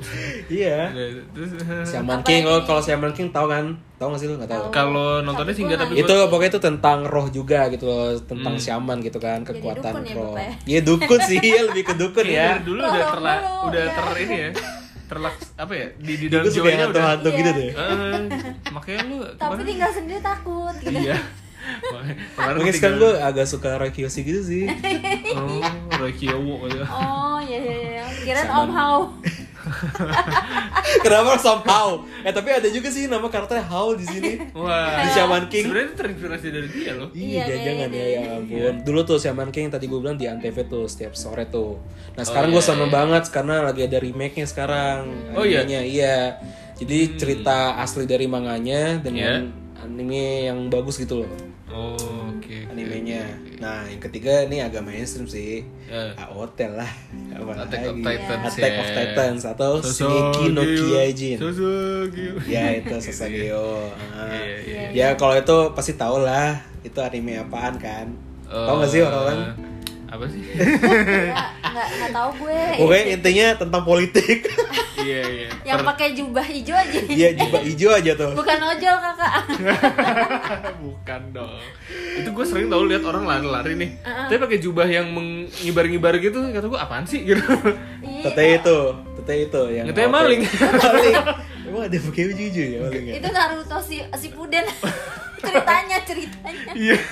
C: iya.
B: Terus eh,
C: Shaman King lo kalau Shaman King tahu kan? Tahu gak sih lo nggak tahu?
B: kalau nontonnya sih nggak tapi
C: itu pokoknya itu tentang roh juga gitu loh tentang
B: Hmm.
C: shaman gitu kan kekuatan
A: dukun ya,
C: roh
A: Bapak ya?
C: iya dukun sih ya lebih ke dukun ya
B: Iya, Dari dulu udah
A: Tolong
B: terla
A: dulu,
B: udah
A: ya.
B: ter ini ya terlak apa ya di di dalam
C: gue suka
B: jiwanya
C: yang
B: udah
C: hantu-hantu gitu deh
B: Eh, makanya lu
A: Iya. tapi tinggal sendiri takut gitu
B: iya Makanya kemarin
C: Mungkin
B: tinggal-
C: sekarang gue agak suka Roy Kiyoshi gitu sih (laughs)
B: oh Rokiyowo gitu
A: oh iya iya
C: (laughs)
A: iya kirain Om Hao
C: Kenapa somehow? Eh tapi ada juga sih nama karakternya How di
A: (laughs)
C: sini.
B: wah
C: Di Shaman King.
B: sebenarnya itu terinspirasi dari dia loh
A: Iya,
C: Iya,
A: kayak
C: jangan ya,
A: gitu.
C: ya ampun. Dulu tuh Shaman King tadi gue bilang di Antv tuh setiap sore tuh. Nah sekarang gue seneng banget karena lagi ada remake-nya sekarang.
B: iya, Oh, iya? Hmm.
C: Animenya, iya. Jadi cerita asli dari manganya dengan
B: Iya.
C: anime yang bagus gitu loh
B: oh oke oke.
C: animenya. Nah yang ketiga ini agak mainstream sih.
B: Eh,
C: AOT lah. Apa
B: Attack of
C: lagi?
B: Titans
C: Attack of
B: ya.
C: Titans atau Shingeki no
B: Sosageo,
C: Kyojin.
B: Sosageo.
C: ya itu Sasageo
B: Iya, iya.
C: ya kalau itu pasti tau lah itu anime apaan kan tau gak sih orang-orang
B: Eh, apa sih (laughs)
A: nggak nggak nggak tahu gue
B: Eh.
C: oke intinya tentang
B: (laughs)
C: politik
B: iya iya
A: yang pakai jubah hijau aja
C: ya jubah hijau aja tuh
A: bukan ojol kakak
B: Bukan dong. Itu gue sering tau lihat orang lari-lari nih. Tapi pakai jubah yang mengibar-ngibar gitu, kata gue apaan sih (laughs) gitu.
A: Iya,
C: teteh itu teteh itu yang
B: Teteh
C: apa?
B: maling.
C: (laughs) maling emang ada pakai hijau ya maling ya?
B: Gitu.
A: itu Naruto si si Puden (laughs) ceritanya ceritanya
B: Iya.
A: (laughs)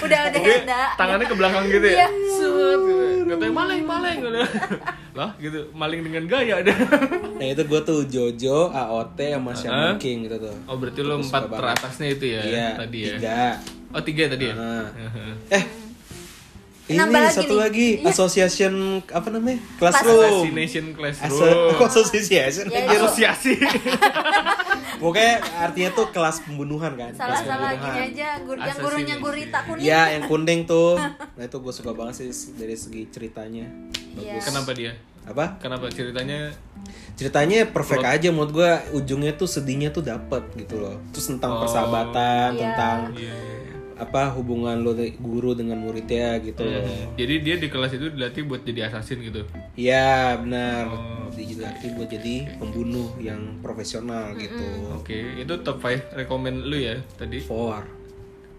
A: udah udah
B: Dia
A: udah
B: tangannya ke belakang gitu ya.
A: Iya.
B: Sut, gitu. Katanya maling, maling gitu. (laughs) Lah gitu, maling dengan gaya
C: (laughs)
B: deh.
C: nah itu gue tuh Jojo AOT sama Shaman
B: Uh-huh.
C: King gitu tuh
B: Oh, berarti lo empat teratasnya itu ya
C: iya
B: tadi ya.
C: tiga
B: Oh, tiga tadi ya.
C: Nah.
B: (laughs) Heeh.
C: eh ini
A: Nambah lagi nih.
C: satu
A: Iya.
C: lagi association apa namanya classroom
B: Assassination (laughs)
C: Aso-
B: Classroom.
C: kok (laughs) association
A: Ya,
C: anjir?
B: Asosiasi.
C: Pokoknya artinya tuh kelas pembunuhan kan.
A: salah
C: kelas
A: salah
C: pembunuhan.
A: gini aja gur yang gurunya gurita kuning
C: Ya, yang kuning
A: (laughs)
C: tuh. Nah, itu gue suka banget sih dari segi ceritanya. Bagus.
B: Kenapa dia?
C: Apa?
B: Kenapa ceritanya?
C: Ceritanya perfect aja menurut gue ujungnya tuh sedihnya tuh dapet gitu loh. Terus tentang persahabatan,
B: Oh.
C: tentang
B: Iya, iya, iya.
C: apa hubungan lo de- guru dengan muridnya gitu
B: Iya,
C: loh.
B: Jadi dia di kelas itu dilatih buat jadi assassin gitu.
C: Ya, benar.
B: Oh.
C: Dilatih buat jadi pembunuh yang profesional gitu.
B: Oke, itu top 5 rekomend lu ya tadi.
C: Four.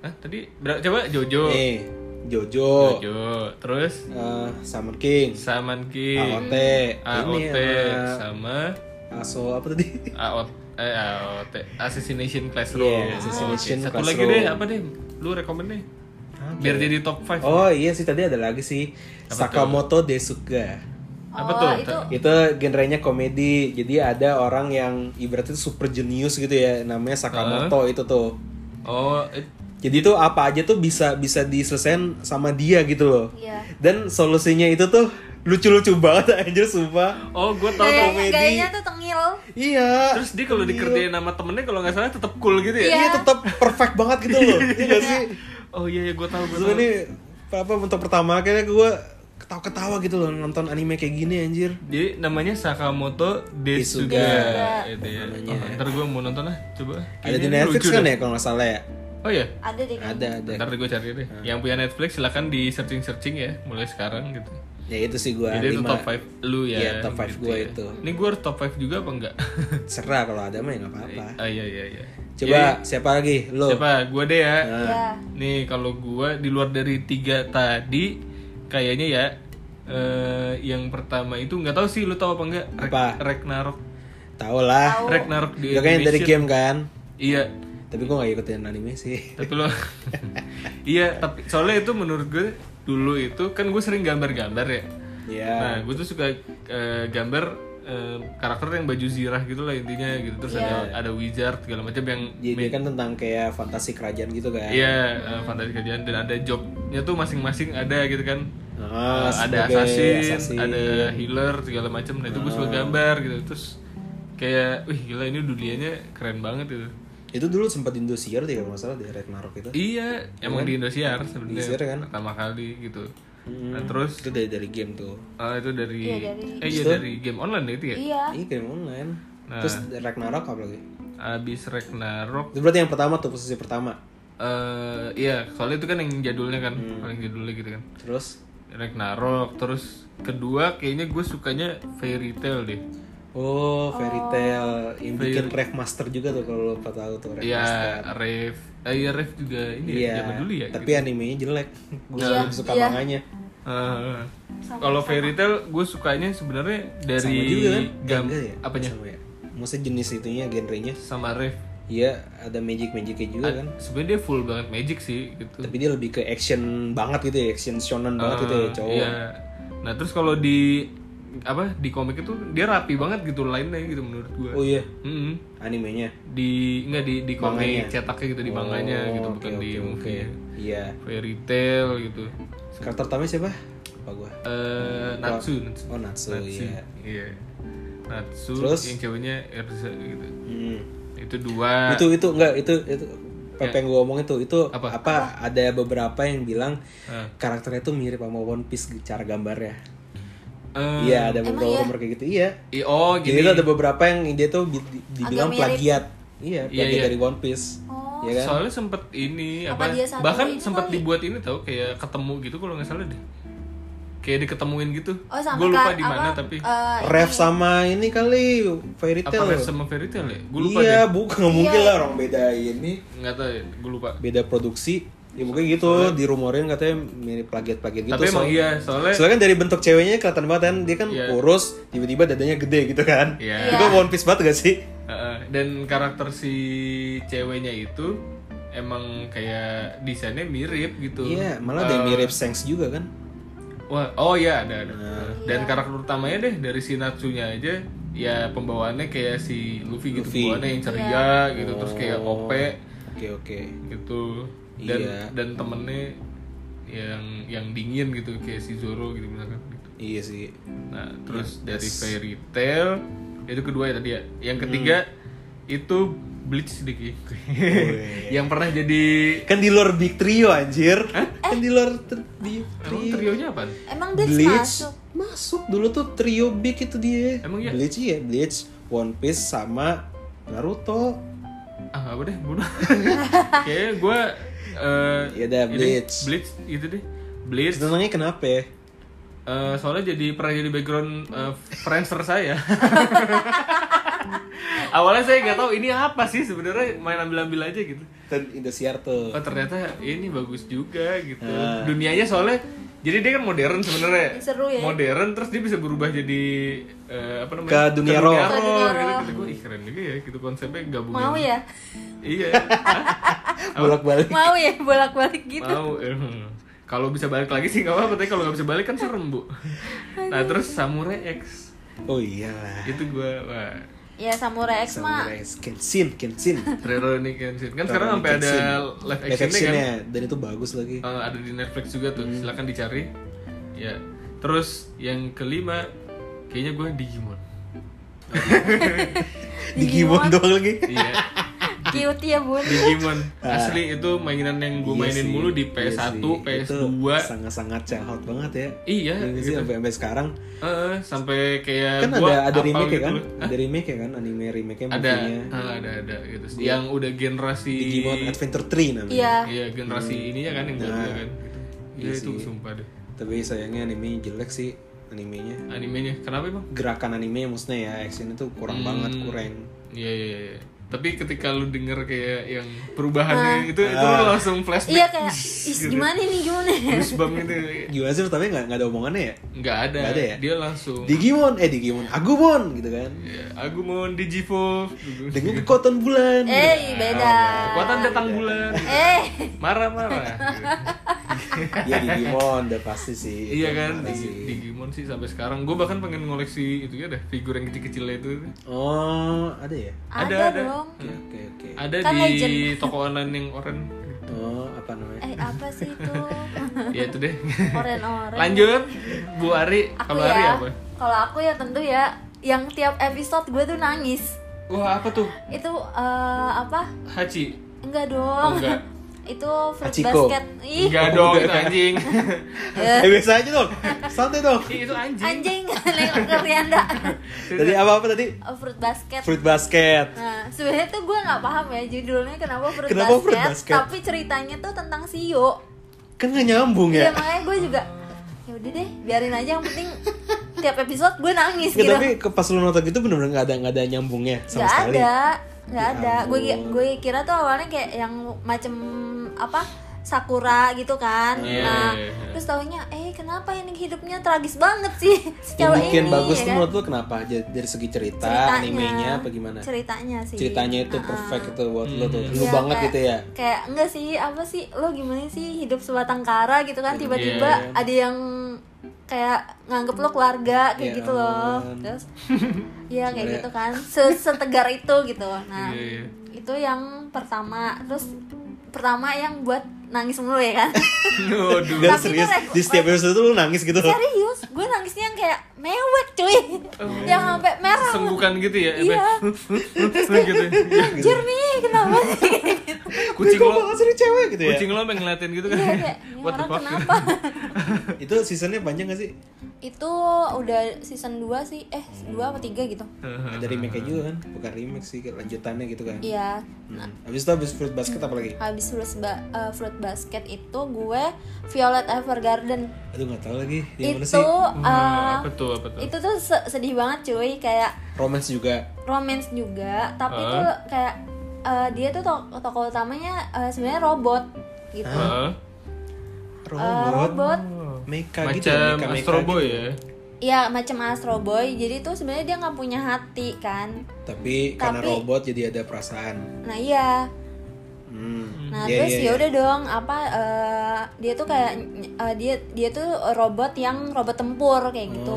B: Hah, tadi ber- coba Jojo.
C: Nih, Jojo,
B: Jojo. Terus
C: eh, Summer King,
B: Saman King,
C: AOT, ini
B: AOT
C: sama-
B: sama
C: Aso apa
B: (laughs)
C: tadi?
B: AOT eh AOT Assassination Classroom.
C: Iya, Assassination
B: Oke, Satu lagi
C: Classroom.
B: deh, apa deh? Lu rekomend deh. Biar jadi top 5.
C: Oh iya sih tadi ada lagi sih Sakamoto Desuga.
B: Apa
A: Oh,
B: tuh?
A: itu
C: Itu genrenya komedi. Jadi ada orang yang ibaratnya super jenius gitu ya namanya Sakamoto itu tuh.
B: Oh, it-
C: Jadi tuh apa aja tuh bisa bisa diselesaikan sama dia gitu loh.
A: Iya.
C: Dan solusinya itu tuh lucu-lucu banget (laughs) anjir sumpah.
B: oh gue tau tau.
A: gayanya gayanya tuh tengil
C: Iya.
B: Terus dia kalau dikerjain sama temennya kalau nggak salah tetap cool gitu ya.
C: Iya tetap perfect banget
B: (laughs)
C: gitu loh. Iya nggak sih?
B: Oh iya, iya gue tahu gue
C: Terus ini apa untuk pertama akhirnya gue ketawa-ketawa gitu loh nonton anime kayak gini anjir
B: Jadi namanya Sakamoto Desuga,
C: Desuga.
B: itu ya. Oh, ntar gue mau nonton lah, coba.
C: ada
B: Kayaknya
C: di Netflix
B: lucu
C: kan
B: deh.
C: ya kalau nggak salah ya
B: Oh ya,
A: ada deh
C: ada ada
B: ntar gue cari deh.
C: Nah.
B: Yang punya Netflix silahkan di searching searching ya, mulai sekarang gitu.
C: ya itu sih gua
B: Jadi itu
C: lima
B: top 5 lu ya.
C: Iya, top five gua
B: ya.
C: itu.
B: Ini gue harus top 5 juga apa
C: (laughs)
B: enggak?
C: serah kalau ada mah ya nggak apa-apa
B: Ah iya iya iya.
C: coba Nah. siapa lagi lo
B: Siapa? Gue deh ya.
A: ya
B: Nih kalau gua di luar dari tiga tadi kayaknya ya eh, yang pertama itu nggak tahu sih lu tahu apa enggak?
C: Apa?
B: Ragnarok.
C: tau lah
B: Ragnarok di
C: Juga yang dari
B: Indonesia.
C: game kan
B: Iya,
C: tapi gua nggak ikutin anime
B: (laughs)
C: sih
B: tapi lo Iya, tapi soalnya itu menurut gue dulu itu kan gue sering gambar-gambar ya. Nah,
C: ya
B: gue tuh suka eh, gambar eh, karakter yang baju zirah gitu lah intinya gitu. Terus
C: Iya.
B: ada ada wizard segala macam yang
C: jadi dia kan tentang kayak fantasi kerajaan gitu kan
B: Iya, eh, fantasi kerjaan dan ada jobnya tuh masing-masing ada gitu kan.
C: Ah,
B: Eh, ada
C: sebagai
B: assassin,
C: assassin. Oh.
B: ada healer segala macam. Nah itu gue suka gambar gitu. Terus kayak, wih gila ini dunianya keren banget itu.
C: itu dulu sempat Indosiar deh kalau nggak salah di Ragnarok itu
B: Iya, emang di Indosiar sebenarnya
C: Indosiar kan?
B: pertama kali gitu. Nah terus
C: itu dari dari game tuh
B: eh, itu dari,
A: Iya, dari-
B: eh iya dari game online itu ya.
A: iya
C: Iya game online.
B: Nah.
C: Terus Ragnarok apa lagi?
B: Abis Ragnarok,
C: Itu berarti yang pertama tuh posisi pertama.
B: eh iya soalnya itu kan yang jadulnya kan, paling jadulnya gitu kan.
C: Terus
B: Ragnarok, terus kedua kayaknya gue sukanya Fairy Tail deh.
C: oh Fairy Tail yang bikin Rev Master juga tuh kalau lo tahu tuh Rev.
B: Iya, Rev, eh, iya Rev juga ini ya, zaman dulu ya. Nah.
C: Tapi animenya jelek. (laughs) Gue belum suka manganya.
B: Eh, kalau fairy tale gue sukanya sebenarnya dari gam
C: Enggak ya?
B: apanya
C: Sama ya. Maksudnya jenis itunya genrenya.
B: sama Rev.
C: Iya, ada magic-magicnya juga kan.
B: Sebenarnya dia full banget magic sih gitu.
C: Tapi dia lebih ke action banget gitu ya, action shonen banget gitu ya, cowok.
B: Iya. Nah terus kalau di apa di komik itu dia rapi banget gitu lainnya gitu menurut gue.
C: Oh iya,
B: Mm-mm.
C: animenya.
B: Di enggak di di komik cetaknya gitu
C: Oh,
B: di manganya gitu bukan di movie.
C: Iya.
B: Fairy tale gitu.
C: Karakter utamanya siapa? Apa gua?
B: Eh Natsu, Natsu.
C: Oh Natsu, iya.
B: Iya. Natsu
C: Terus?
B: yang ceweknya Erza gitu.
C: Hmm.
B: Itu dua.
C: itu itu enggak itu itu apa yang gue omongin tuh itu
B: Nah. Ya. Apa? Ah.
C: apa? ada beberapa yang bilang karakternya tuh mirip sama One Piece cara gambarnya
B: Eh,
C: iya ada beberapa gambar kayak gitu iya
B: i- oh gini.
C: jadi itu ada beberapa yang dia tuh bi- di- dibilang
A: mirip.
C: plagiat
B: Iya,
C: iya plagiat
B: iya.
C: dari One Piece
A: oh
C: Iya kan
B: Soalnya sempet ini apa,
A: Apa dia satu Oh, iya.
B: bahkan
A: itu
B: sempet
A: kali?
B: dibuat ini tau kayak ketemu gitu kalau nggak salah deh. Kayak diketemuin gitu.
A: oh sama
B: Gue lupa
A: Kak,
B: di mana
A: apa,
B: tapi
A: eh,
C: Rev sama ini kali Fairy
B: apa Rev
C: Tail
B: sama Fairy Tail ya? Gue lupa deh.
C: iya bukan nggak mungkin lah orang beda ini
B: Nggak tahu ya, gue lupa.
C: beda produksi ya mungkin gitu dirumorin katanya mirip plagiat plagiat gitu
B: Iya. tapi emang
C: soalnya-
B: iya, soalnya
C: Soalnya kan dari bentuk ceweknya kelihatan banget kan dia kan kurus, tiba-tiba dadanya gede gitu kan.
B: Iya.
C: Itu kan One Piece banget gak sih?
B: Heeh, dan karakter si ceweknya itu emang kayak desainnya mirip gitu.
C: Iya, malah ada yang mirip Sengs juga kan.
B: Wah, oh iya ada ada.
C: Nah.
B: Dan karakter utamanya deh dari si Natsunya aja ya pembawaannya kayak si Luffy gitu,
C: Luffy.
B: pembawaannya yang ceria
A: Iya.
B: gitu terus kayak OP
C: Oh. Oke oke.
B: gitu. Dan
C: Iya.
B: dan temennya yang yang dingin gitu kayak si Zoro gitu misalkan gitu.
C: Iya sih.
B: Nah, terus
C: Iya,
B: dari Fairy Tail itu kedua ya tadi ya. Yang ketiga
C: Hmm.
B: itu Bleach
C: Oh,
B: (laughs) sedikit.
C: iya.
B: yang pernah jadi
C: Kan di luar Big Trio anjir. Kan di luar ter- di
B: Emang trionya apa?
A: emang dia
C: Bleach.
A: masuk
C: Masuk dulu tuh trio Big itu dia.
B: Emang iya?
C: Bleach iya, Bleach, One Piece sama Naruto.
B: Ah, apa deh,
C: (laughs)
B: bodoh. Kayaknya gue
C: Ya udah, Bleach.
B: Bleach itu deh. Bleach
C: Senangnya kenapa ya?
B: eh, soalnya jadi pernah jadi background eh, friendster saya.
C: (laughs)
B: Awalnya saya nggak tahu ini apa sih sebenarnya main ambil-ambil aja gitu.
C: Dan Kan Indosiar tuh.
B: Oh ternyata ini bagus juga gitu.
C: Ah.
B: Dunianya soalnya jadi dia kan modern sebenarnya.
A: Seru ya.
B: Modern terus dia bisa berubah jadi eh, apa namanya?
C: Ke dunia
B: Ke
C: rock.
B: dunia rock, gitu. Kata gua, ih keren juga ya gitu konsepnya gabungin.
A: mau ya
C: (laughs)
B: Iya. Oh.
C: Bolak-balik.
A: mau ya bolak balik (laughs) gitu
B: mau. eh, Kalau bisa balik lagi sih nggak apa-apa, tapi kalau nggak bisa balik kan serem bu. Nah terus Samurai X
C: Oh iyalah.
B: itu gua wah.
A: ya samurai X mah
C: Samurai Kenshin, Kenshin.
B: Trero ini Kenshin kan sekarang sampai ada live
C: live
B: action-nya kan.
C: actionnya Hmm. dan itu bagus lagi
B: Eh, ada di Netflix juga tuh, silahkan dicari. Ya. Terus yang kelima, kayaknya gue Digimon.
C: (laughs) Digimon doang lagi
B: Iya.
A: Cute ya bun.
B: Digimon asli itu mainan yang gue
C: Ah. Iya
B: mainin
C: sih,
B: mulu di
C: iya
B: PS1,
C: sih.
B: PS2.
C: Itu sangat-sangat childhood banget ya.
B: Iya,
C: Iya nggak sih
B: gitu.
C: sampai sampai sekarang
B: Eh, sampai kayak
C: kan
B: gua
C: ada ada
B: apal
C: remake ya
B: gitu
C: kan?
B: loh.
C: Ada remake ya kan? Anime remake-nya
B: Ada,
C: movie-nya. Iya.
B: eh, ada ada gitu. sih. Yang udah generasi
C: Digimon Hmm. Nah. Adventure 3 namanya.
A: Iya.
B: Iya, generasi ininya kan yang baru ya kan. Gitu. Iya itu sumpah deh.
C: Tapi sayangnya anime jelek sih animenya.
B: Animenya. Kenapa, Bang?
C: Gerakan animenya maksudnya ya actionnya tuh kurang banget, kurang.
B: Iya, iya, iya. Tapi ketika lu denger kayak yang perubahannya gitu, itu
C: Ah.
B: lu langsung flashback.
A: Nah. Iya kayak, is gimana nih gimana?
B: Goosebump gitu.
C: Gimana sih tapi nggak nggak ada omongannya ya?
B: Nggak ada.
C: Nggak ada ya?
B: Dia langsung
C: Digimon, eh Digimon, Agumon gitu kan.
B: ya, aku mau Digivolve.
A: Iya.
C: Dengan
B: (laughs)
C: kekuatan bulan. gitu. Ah,
A: eh beda.
B: Kekuatan datang bulan.
A: Eh, (laughs)
B: Marah-marah.
C: Iya Digimon udah pasti sih.
B: iya
C: Itu
B: kan,
C: mana
B: Digi-
C: sih.
B: Digimon sih sampai sekarang. Gue bahkan pengen ngoleksi itu ya deh, figur yang kecil-kecilnya itu.
C: Oh, ada ya?
A: ada,
B: Ada, ada.
A: dong.
C: Oke, oke, oke.
B: Ada
A: Kan
B: di
A: legend.
B: toko online yang oranye.
C: Oh, apa namanya?
A: Eh apa sih
B: (laughs)
A: itu?
B: ya itu deh
A: Oren oren.
B: lanjut Bu Ari
A: Aku
B: kalau Ari
A: ya.
B: apa
A: Kalau aku ya tentu ya, yang tiap episode gue tuh nangis.
B: wah apa tuh
A: Itu eh, apa?
B: Hachi
A: Enggak dong.
B: Oh, Enggak.
A: (laughs) itu fruit
C: Hachiko.
A: basket. Ih,
B: enggak dong itu anjing
C: (laughs) Eh, biasa aja dong. Santai
B: (laughs)
C: dong.
B: Ih, itu anjing
A: (laughs) anjing (laughs) nengok ke
B: (laughs)
A: Rianda.
C: Tadi apa-apa tadi?
A: Oh, fruit basket.
C: Fruit basket.
A: Nah, sebenarnya tuh gue nggak paham ya judulnya kenapa fruit,
C: Kenapa
A: basket,
C: fruit basket?
A: tapi ceritanya tuh tentang Sio.
C: Kan nggak nyambung
A: Iya
C: ya.
A: makanya gue juga ya udah deh biarin aja yang penting tiap episode gue nangis
C: Nggak,
A: gitu.
C: tapi ke- pas lu nonton gitu bener-bener nggak ada nggak ada nyambungnya sama
A: Nggak
C: sekali.
A: ada, nggak
C: Ya
A: ada. Gue ki-
C: ampun.
A: gue kira tuh awalnya kayak yang macem apa sakura gitu kan.
B: Iya,
A: nah,
B: iya, iya.
A: terus taunya eh kenapa ini hidupnya tragis banget sih (laughs) si
C: Yang
A: cewek
C: bikin
A: ini.
C: bagus
A: ya
C: tuh
A: kan?
C: menurut lu kenapa? Ja- Dari segi cerita, animenya apa gimana?
A: Ceritanya sih.
C: Ceritanya itu perfect itu buat lu tuh.
A: Ah.
C: Lu
A: Iya,
C: banget
A: kayak-
C: gitu ya.
A: Kayak enggak sih, apa sih lo gimana sih hidup sebatang kara gitu kan tiba-tiba
B: Iya.
A: ada yang kayak nganggep lo keluarga kayak
C: Ya
A: gitu loh.
C: ampun.
A: Terus (laughs) Iya kayak
C: Sebenarnya-
A: gitu kan. Se- Setegar itu gitu. Nah,
B: Iya, iya.
A: itu yang pertama. Terus pertama yang buat nangis mulu ya kan.
B: Aduh.
A: Tapi
C: Gak serius,
A: tuh rek-
C: di setiap episode tuh lu nangis gitu
A: Serius, gue nangisnya yang kayak mewek cuy.
B: Oh.
A: yang sampai merah.
B: senggukan gitu ya Ebe?
A: Iya.
B: gitu
A: Anjir nih,
B: (laughs)
A: kenapa sih?
B: kucing
C: Kok
B: lo
C: banget sih ini cewek gitu ya
B: kucing lo pengen ngeliatin gitu kan
A: Iya kayak, ini
B: what the
A: orang
B: fuck
A: kenapa?
C: Itu seasonnya panjang gak sih?
A: itu udah season 2 sih eh 2 apa 3 gitu
B: Hmm.
C: Ada remake-nya juga kan? Bukan remake sih, kayak lanjutannya gitu kan
A: iya
C: hmm. Abis itu abis Fruit Basket apa lagi?
A: habis fruit, ba- eh, fruit basket itu gue Violet Evergarden
C: Aduh gak tau lagi, yang mana
A: itu
C: Iya, sih?
A: eh,
B: Wah, Hmm, apa tuh apa tuh
A: itu tuh se- sedih banget cuy kayak
C: Romance juga
A: romance juga tapi
B: Hah?
A: tuh kayak eh, dia tuh to- tokoh utamanya eh, sebenarnya robot gitu
B: Hah?
A: Eh,
C: Robot,
A: robot
C: Mecha gitu ya,
B: macam
C: mecha-mecha
B: Astro Boy
C: gitu.
B: ya
A: ya macam Astro Boy jadi tuh sebenarnya dia nggak punya hati kan
C: Tapi, karena
A: Tapi-
C: robot jadi ada perasaan
A: nah iya
C: hmm.
A: Nah
C: Iya,
A: terus
C: iya,
A: ya udah dong apa eh, dia tuh kayak eh, dia dia tuh robot yang robot tempur kayak gitu.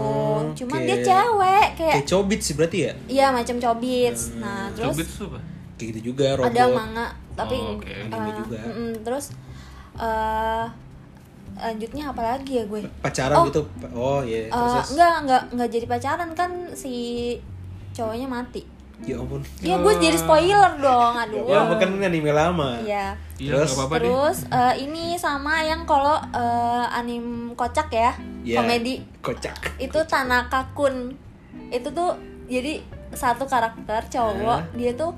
C: Oh,
A: Cuman
C: oke.
A: dia cewek kayak
C: Kayak cobit sih berarti ya?
A: iya macam cobits. Nah terus
B: Cubits tuh apa
C: Kayak gitu juga robot
A: ada manga tapi
B: Oh, oke.
A: eh,
C: Anime juga.
A: mm-mm, terus eh lanjutnya apa lagi ya gue?
C: Pacaran gitu Oh
A: Eh,
C: iya, terus
A: enggak enggak enggak jadi pacaran kan si cowoknya mati.
C: Ya ampun
A: Ya gue jadi spoiler dong, aduh.
C: (laughs) Ya ampun, kan anime lama
A: Iya.
B: iya
C: Terus?
B: nggak apa-apa deh
A: Terus eh, ini sama yang kalau eh, anim kocak ya,
C: Ya,
A: komedi
C: Kocak
A: itu Tanaka Kun. Itu tuh jadi satu karakter cowok, dia tuh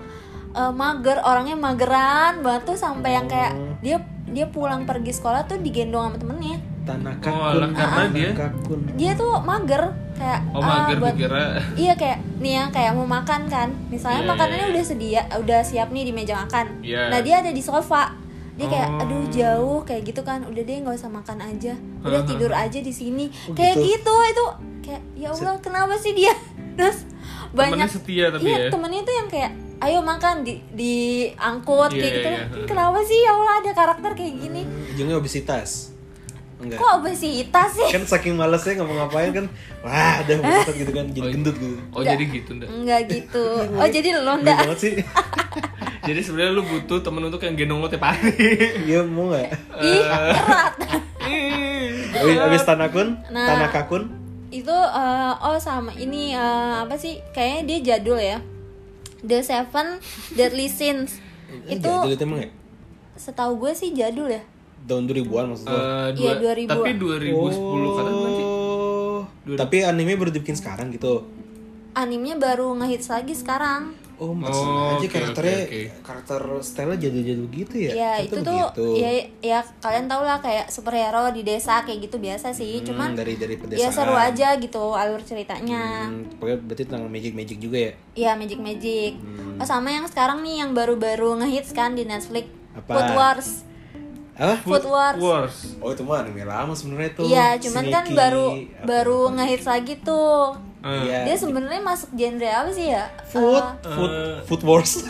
A: eh, mager, orangnya mageran banget tuh sampai yang kayak
B: Oh.
A: dia dia pulang pergi sekolah tuh digendong sama temennya.
C: Tanaka
B: Oh,
C: kun
B: lah, karena dia-
C: Tanaka kun
A: Dia tuh mager kayak
B: oh
A: ah,
B: mager
A: buat-
B: dikira
A: Iya kayak nih ya kayak mau makan kan. Misalnya
B: Iya,
A: makanannya
B: iya, iya.
A: udah sedia, udah siap nih di meja makan.
B: Iya.
A: Nah, dia ada di sofa. Dia kayak
B: Oh.
A: aduh jauh kayak gitu kan. Udah deh nggak usah makan aja. Udah
B: Haha.
A: tidur aja di sini.
C: Oh,
A: kayak
C: gitu.
A: gitu. itu kayak ya Allah kenapa sih dia? (laughs) Terus banyak
B: setia tapi
A: iya,
B: ya.
A: temennya tuh yang kayak ayo makan di diangkut
B: Iya,
A: kayak
B: iya,
A: gitu.
B: iya.
A: Kan Kenapa sih ya Allah ada karakter kayak gini?
C: Ujungnya obesitas Enggak
A: Kok obesitas sih?
C: Kan saking malesnya nggak mau ngapain kan Wah udah obesitas gitu kan Jadi gendut gitu
B: oh jadi gitu ndak
A: Enggak gitu.
B: (laughs)
A: Oh, jadi lo
C: Gila
A: ndak
C: banget
A: (laughs)
C: sih
B: jadi sebenarnya lu butuh temen untuk yang gendong lo tiap hari
A: (laughs)
C: Iya mau
B: Eh.
C: gak?
A: Ih, erat.
C: Abis, abis Tanakun
A: Nah.
C: Tanaka kun
A: itu eh, oh sama ini
C: (laughs)
A: eh, apa sih kayaknya dia jadul ya The Seven Deadly Sins
C: Eh,
A: Itu-
C: jadul itu emang ya
A: Setahu gue sih jadul ya.
C: tahun 2000-an maksud lo?
B: Eh,
A: Iya,
B: dua,
A: 2000.
B: tapi 2010 kata bukan sih?
C: Oh, tapi anime baru dibikin sekarang gitu
A: Animenya baru ngehits lagi sekarang.
C: Oh,
B: Oh,
C: maksudnya aja
B: oke,
C: karakternya
B: oke,
C: karakter Stella jadul-jadul gitu ya?
A: Ya, itu tuh
C: begitu.
A: ya ya kalian tau lah kayak superhero di desa kayak gitu biasa sih.
C: Hmm,
A: Cuman
C: dari dari
A: ya
C: pedesaan.
A: seru aja gitu alur ceritanya.
C: Hmm, pokoknya berarti tentang magic-magic juga ya?
A: Ya Magic Magic.
C: Hmm.
A: Oh, sama yang sekarang nih yang baru-baru ngehits kan di Netflix.
C: Apa?
A: Food Wars.
C: Apa?
A: Food Wars.
B: Wars.
C: Oh, itu mah anime lama sebenarnya tuh.
A: Iya, cuman kan
C: Shingeki,
A: baru
C: Gitu. apa- gitu.
A: baru ngehits lagi tuh.
C: Iya.
A: Dia sebenarnya masuk genre apa sih ya?
C: food,
A: Eh,
C: food, food
B: (laughs)
C: wars.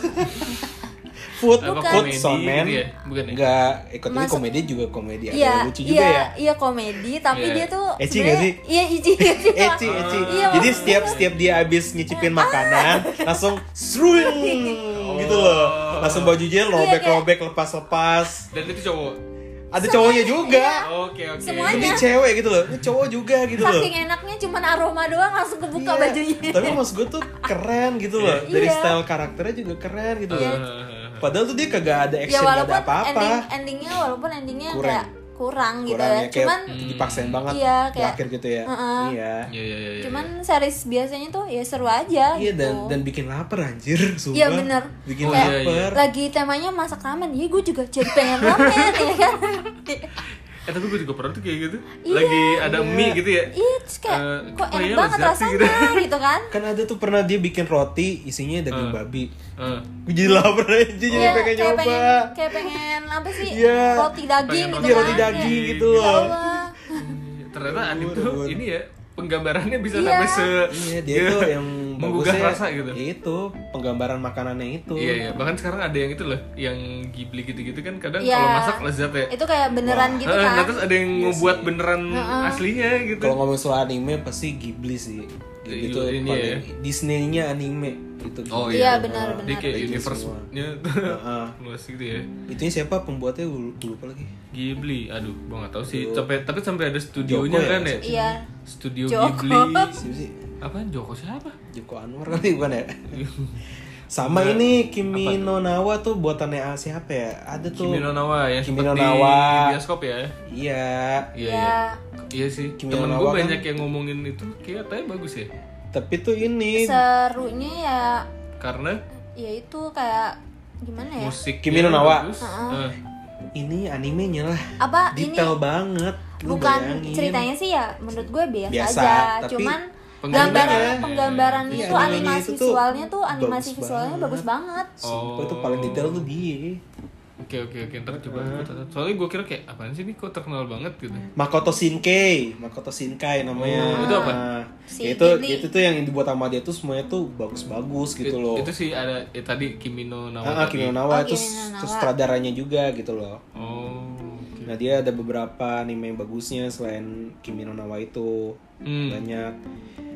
C: food,
B: Apa
C: food,
B: komedi
C: sonen.
B: gitu ya? Bukan ya?
C: Enggak, ikut ini
A: Masuk-
C: komedi juga komedi ada
A: Iya,
C: lucu juga
A: iya,
C: ya.
A: iya komedi, tapi
B: Iya.
A: dia tuh
C: Ecchi
A: sebenarnya-
C: nggak sih?
A: Iya, ecchi. ecchi.
C: Eci, eci.
A: Iya, Ah.
C: Jadi setiap setiap dia habis nyicipin makanan, langsung sruing gitu loh. Langsung bajunya
A: Iya,
C: robek-robek lepas-lepas.
B: Dan itu cowok.
C: Ada cowoknya juga.
A: iya,
B: Oke,
A: Ah,
B: oke.
A: Semuanya.
C: Ini cewek gitu loh. Ini cowok juga gitu loh.
A: Saking enaknya cuman aroma doang langsung kebuka
C: Iya,
A: bajunya. (laughs) Ya,
C: Tapi maksud gue tuh keren gitu loh. Dari
A: Iya.
C: style karakternya juga keren gitu loh.
B: Eh,
C: Padahal tuh dia kagak ada
A: ya
C: action, nggak
A: walaupun
C: ada apa-apa.
A: ending endingnya walaupun endingnya
C: Kurang.
A: kayak kurang gitu
C: Kurangnya
A: ya.
C: kayak
A: Cuman
C: dipaksain banget
A: Iya,
C: di
A: kayak-
C: akhir gitu ya.
A: Heeh.
C: Iya.
B: (laughs) Iya, iya, iya.
A: cuman series biasanya tuh ya seru aja
C: Iya
A: gitu.
C: dan dan bikin lapar anjir, sumpah.
A: Iya, bener.
C: Bikin
B: Oh, iya,
C: lapar.
B: iya.
A: lagi temanya masak ramen iya gue juga jadi pengen ramen (laughs) ya kan
C: (laughs)
B: Eh, tapi gue juga pernah tuh kayak gitu. Lagi ada mie gitu ya.
A: iya terus kayak
B: Eh,
A: kok enak
B: kayaknya
A: banget
B: lezat sih,
A: rasanya gitu
C: (laughs)
A: kan
C: Kan ada tuh pernah dia bikin roti isinya daging babi.
B: Eh,
C: Gue jadi lapar aja jadi
A: Iya,
C: pengen
A: kayak
C: nyoba.
A: pengen kayak pengen apa sih
C: Iya.
A: roti daging
B: Pengen
A: gitu
C: Iya
A: kan
C: roti daging
A: Kayak,
C: gitu
A: ya
C: loh.
A: Allah.
B: ternyata anime tuh ini ya penggambarannya bisa
A: Iya.
B: sampai se
C: Iya dia
B: (laughs)
C: tuh yang
B: menggugah
C: bagusnya ya
B: rasa gitu.
C: Itu penggambaran makanannya itu.
B: Iya, iya. Bahkan sekarang ada yang itu loh, yang Ghibli gitu-gitu kan kadang
A: Iya.
B: kalau masak lezat ya.
A: itu kayak beneran gitu
B: Eh,
A: kan
B: nah, terus ada yang membuat beneran aslinya gitu.
C: Iya Kalau ngomong soal anime pasti Ghibli sih.
B: Iya,
C: Ghibli tuh
B: ini
C: paling
B: ya.
C: Disney-nya anime gitu.
B: Oh
A: iya
B: iya.
A: benar
B: Jadi
A: benar
B: kayak
C: Legend
B: universe-nya tuh
C: Heeh.
B: (laughs) luas gitu ya.
C: Itunya siapa pembuatnya gue lupa- lupa lagi.
B: Ghibli, aduh, gua nggak tahu sih. Sampai tapi sampai ada studionya
C: Joko ya,
B: kan ya?
A: iya
B: Studio
A: Joko.
B: Ghibli.
C: Siapa sih?
B: Apaan Joko siapa?
C: Joko Anwar kali (laughs) bukan
B: (laughs)
C: ya? Sama ini Kimi no Nawa tuh buatannya ah, siapa ya? Ada tuh.
B: Kimi no Nawa ya,
C: Kimi
B: sempet
C: no
B: di
C: Nawa.
B: bioskop ya.
C: Iya.
B: (laughs) Iya,
A: ya
B: iya. Iya sih.
C: Kimi
B: Temen
C: no
B: gue
C: Nawa kan-
B: banyak yang ngomongin itu kayaknya bagus ya.
C: Tapi tuh ini
A: serunya ya
B: Karena
A: ya itu kayak gimana ya
B: musik
C: Kimi no Nawa.
B: bagus. Eh,
C: ini animenya lah.
A: apa Ah, ini
C: Detail banget.
B: gitu,
C: Lu
A: bukan
C: bayangin.
A: ceritanya sih ya menurut gue biasa,
C: Biasa,
A: aja
C: tapi
A: cuman
B: penggambaran- ya.
A: gambaran penggambaran
C: Iya,
A: itu
C: animenya
A: animasi
C: itu tuh
A: visualnya tuh animasi
C: bagus
A: visualnya
C: banget.
A: bagus banget
C: Sumpah itu paling detail tuh dia.
B: Oke oke oke ntar coba aku tonton. Soalnya gue kira kayak apaan sih ini kok terkenal banget gitu.
C: Makoto Shinkei, Makoto Shinkai namanya.
B: Oh, itu apa?
C: Nah,
A: Si
C: itu
A: Ghibli.
C: itu tuh yang dibuat sama dia tuh semuanya tuh bagus-bagus gitu
B: It-
C: loh.
B: Itu sih ada eh, tadi Kimi no Nawa.
C: Ah, ah,
B: tadi.
C: Kimi no Nawa
A: Oh, Kimi
C: terus
A: no Nawa.
C: terus sutradaranya juga gitu loh.
B: Oh. oke.
C: Nah dia ada beberapa anime yang bagusnya selain Kimi no Nawa itu
B: Hmm.
C: banyak.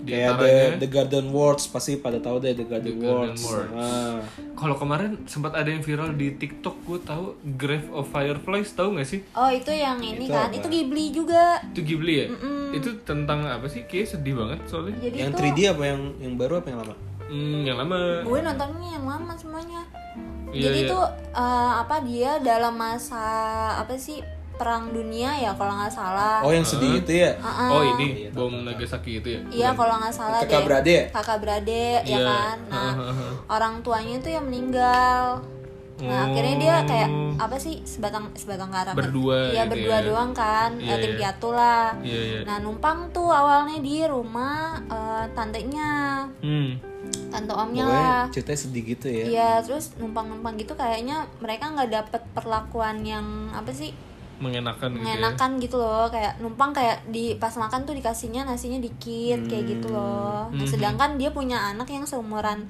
B: Di
C: Kayak The,
B: antaranya-
C: The Garden Worlds pasti pada tahu deh The Garden,
B: The Garden
C: Worlds.
B: Worlds.
C: Ah.
B: Kalau kemarin sempat ada yang viral di TikTok, gue tahu Grave of Fireflies, tahu nggak sih?
A: oh itu yang ini
C: Itu
A: kan
C: apa?
A: itu Ghibli juga
B: Itu Ghibli ya? Itu tentang apa sih? Kayaknya sedih banget soalnya.
A: jadi
C: yang
A: itu
C: 3D apa yang yang baru apa yang lama?
B: Hmm, yang lama.
A: gue nontonnya yang lama semuanya
B: Iya,
A: jadi
B: iya.
A: itu eh, apa dia dalam masa apa sih perang dunia ya kalau nggak salah
C: Oh yang sedih itu ya?
A: Ah.
B: Oh ini bom Nagasaki itu ya?
A: Iya kalau nggak salah
C: Kakak
A: deh.
C: beradik ya?
A: Kakak beradik ya
B: Iya. (laughs)
A: kan. Nah orang tuanya tuh yang meninggal. Nah akhirnya dia kayak apa sih sebatang sebatang kara.
B: Oh. Berdua
A: Iya
B: gitu
A: berdua
B: ya.
A: doang kan.
B: Iya,
A: Eh, tim
B: iya.
A: piatu lah.
B: Iya iya.
A: Nah numpang tuh awalnya di rumah eh, tantenya,
B: Hmm.
A: tante omnya
C: Pokoknya
A: lah.
C: ceritanya sedih gitu ya.
A: Iya terus numpang-numpang gitu kayaknya mereka nggak dapet perlakuan yang apa sih
B: Mengenakan gitu ya.
A: mengenakan gitu loh kayak numpang kayak di pas makan tuh dikasihnya nasinya dikit kayak
B: Hmm.
A: gitu loh Nah, sedangkan dia punya anak yang seumuran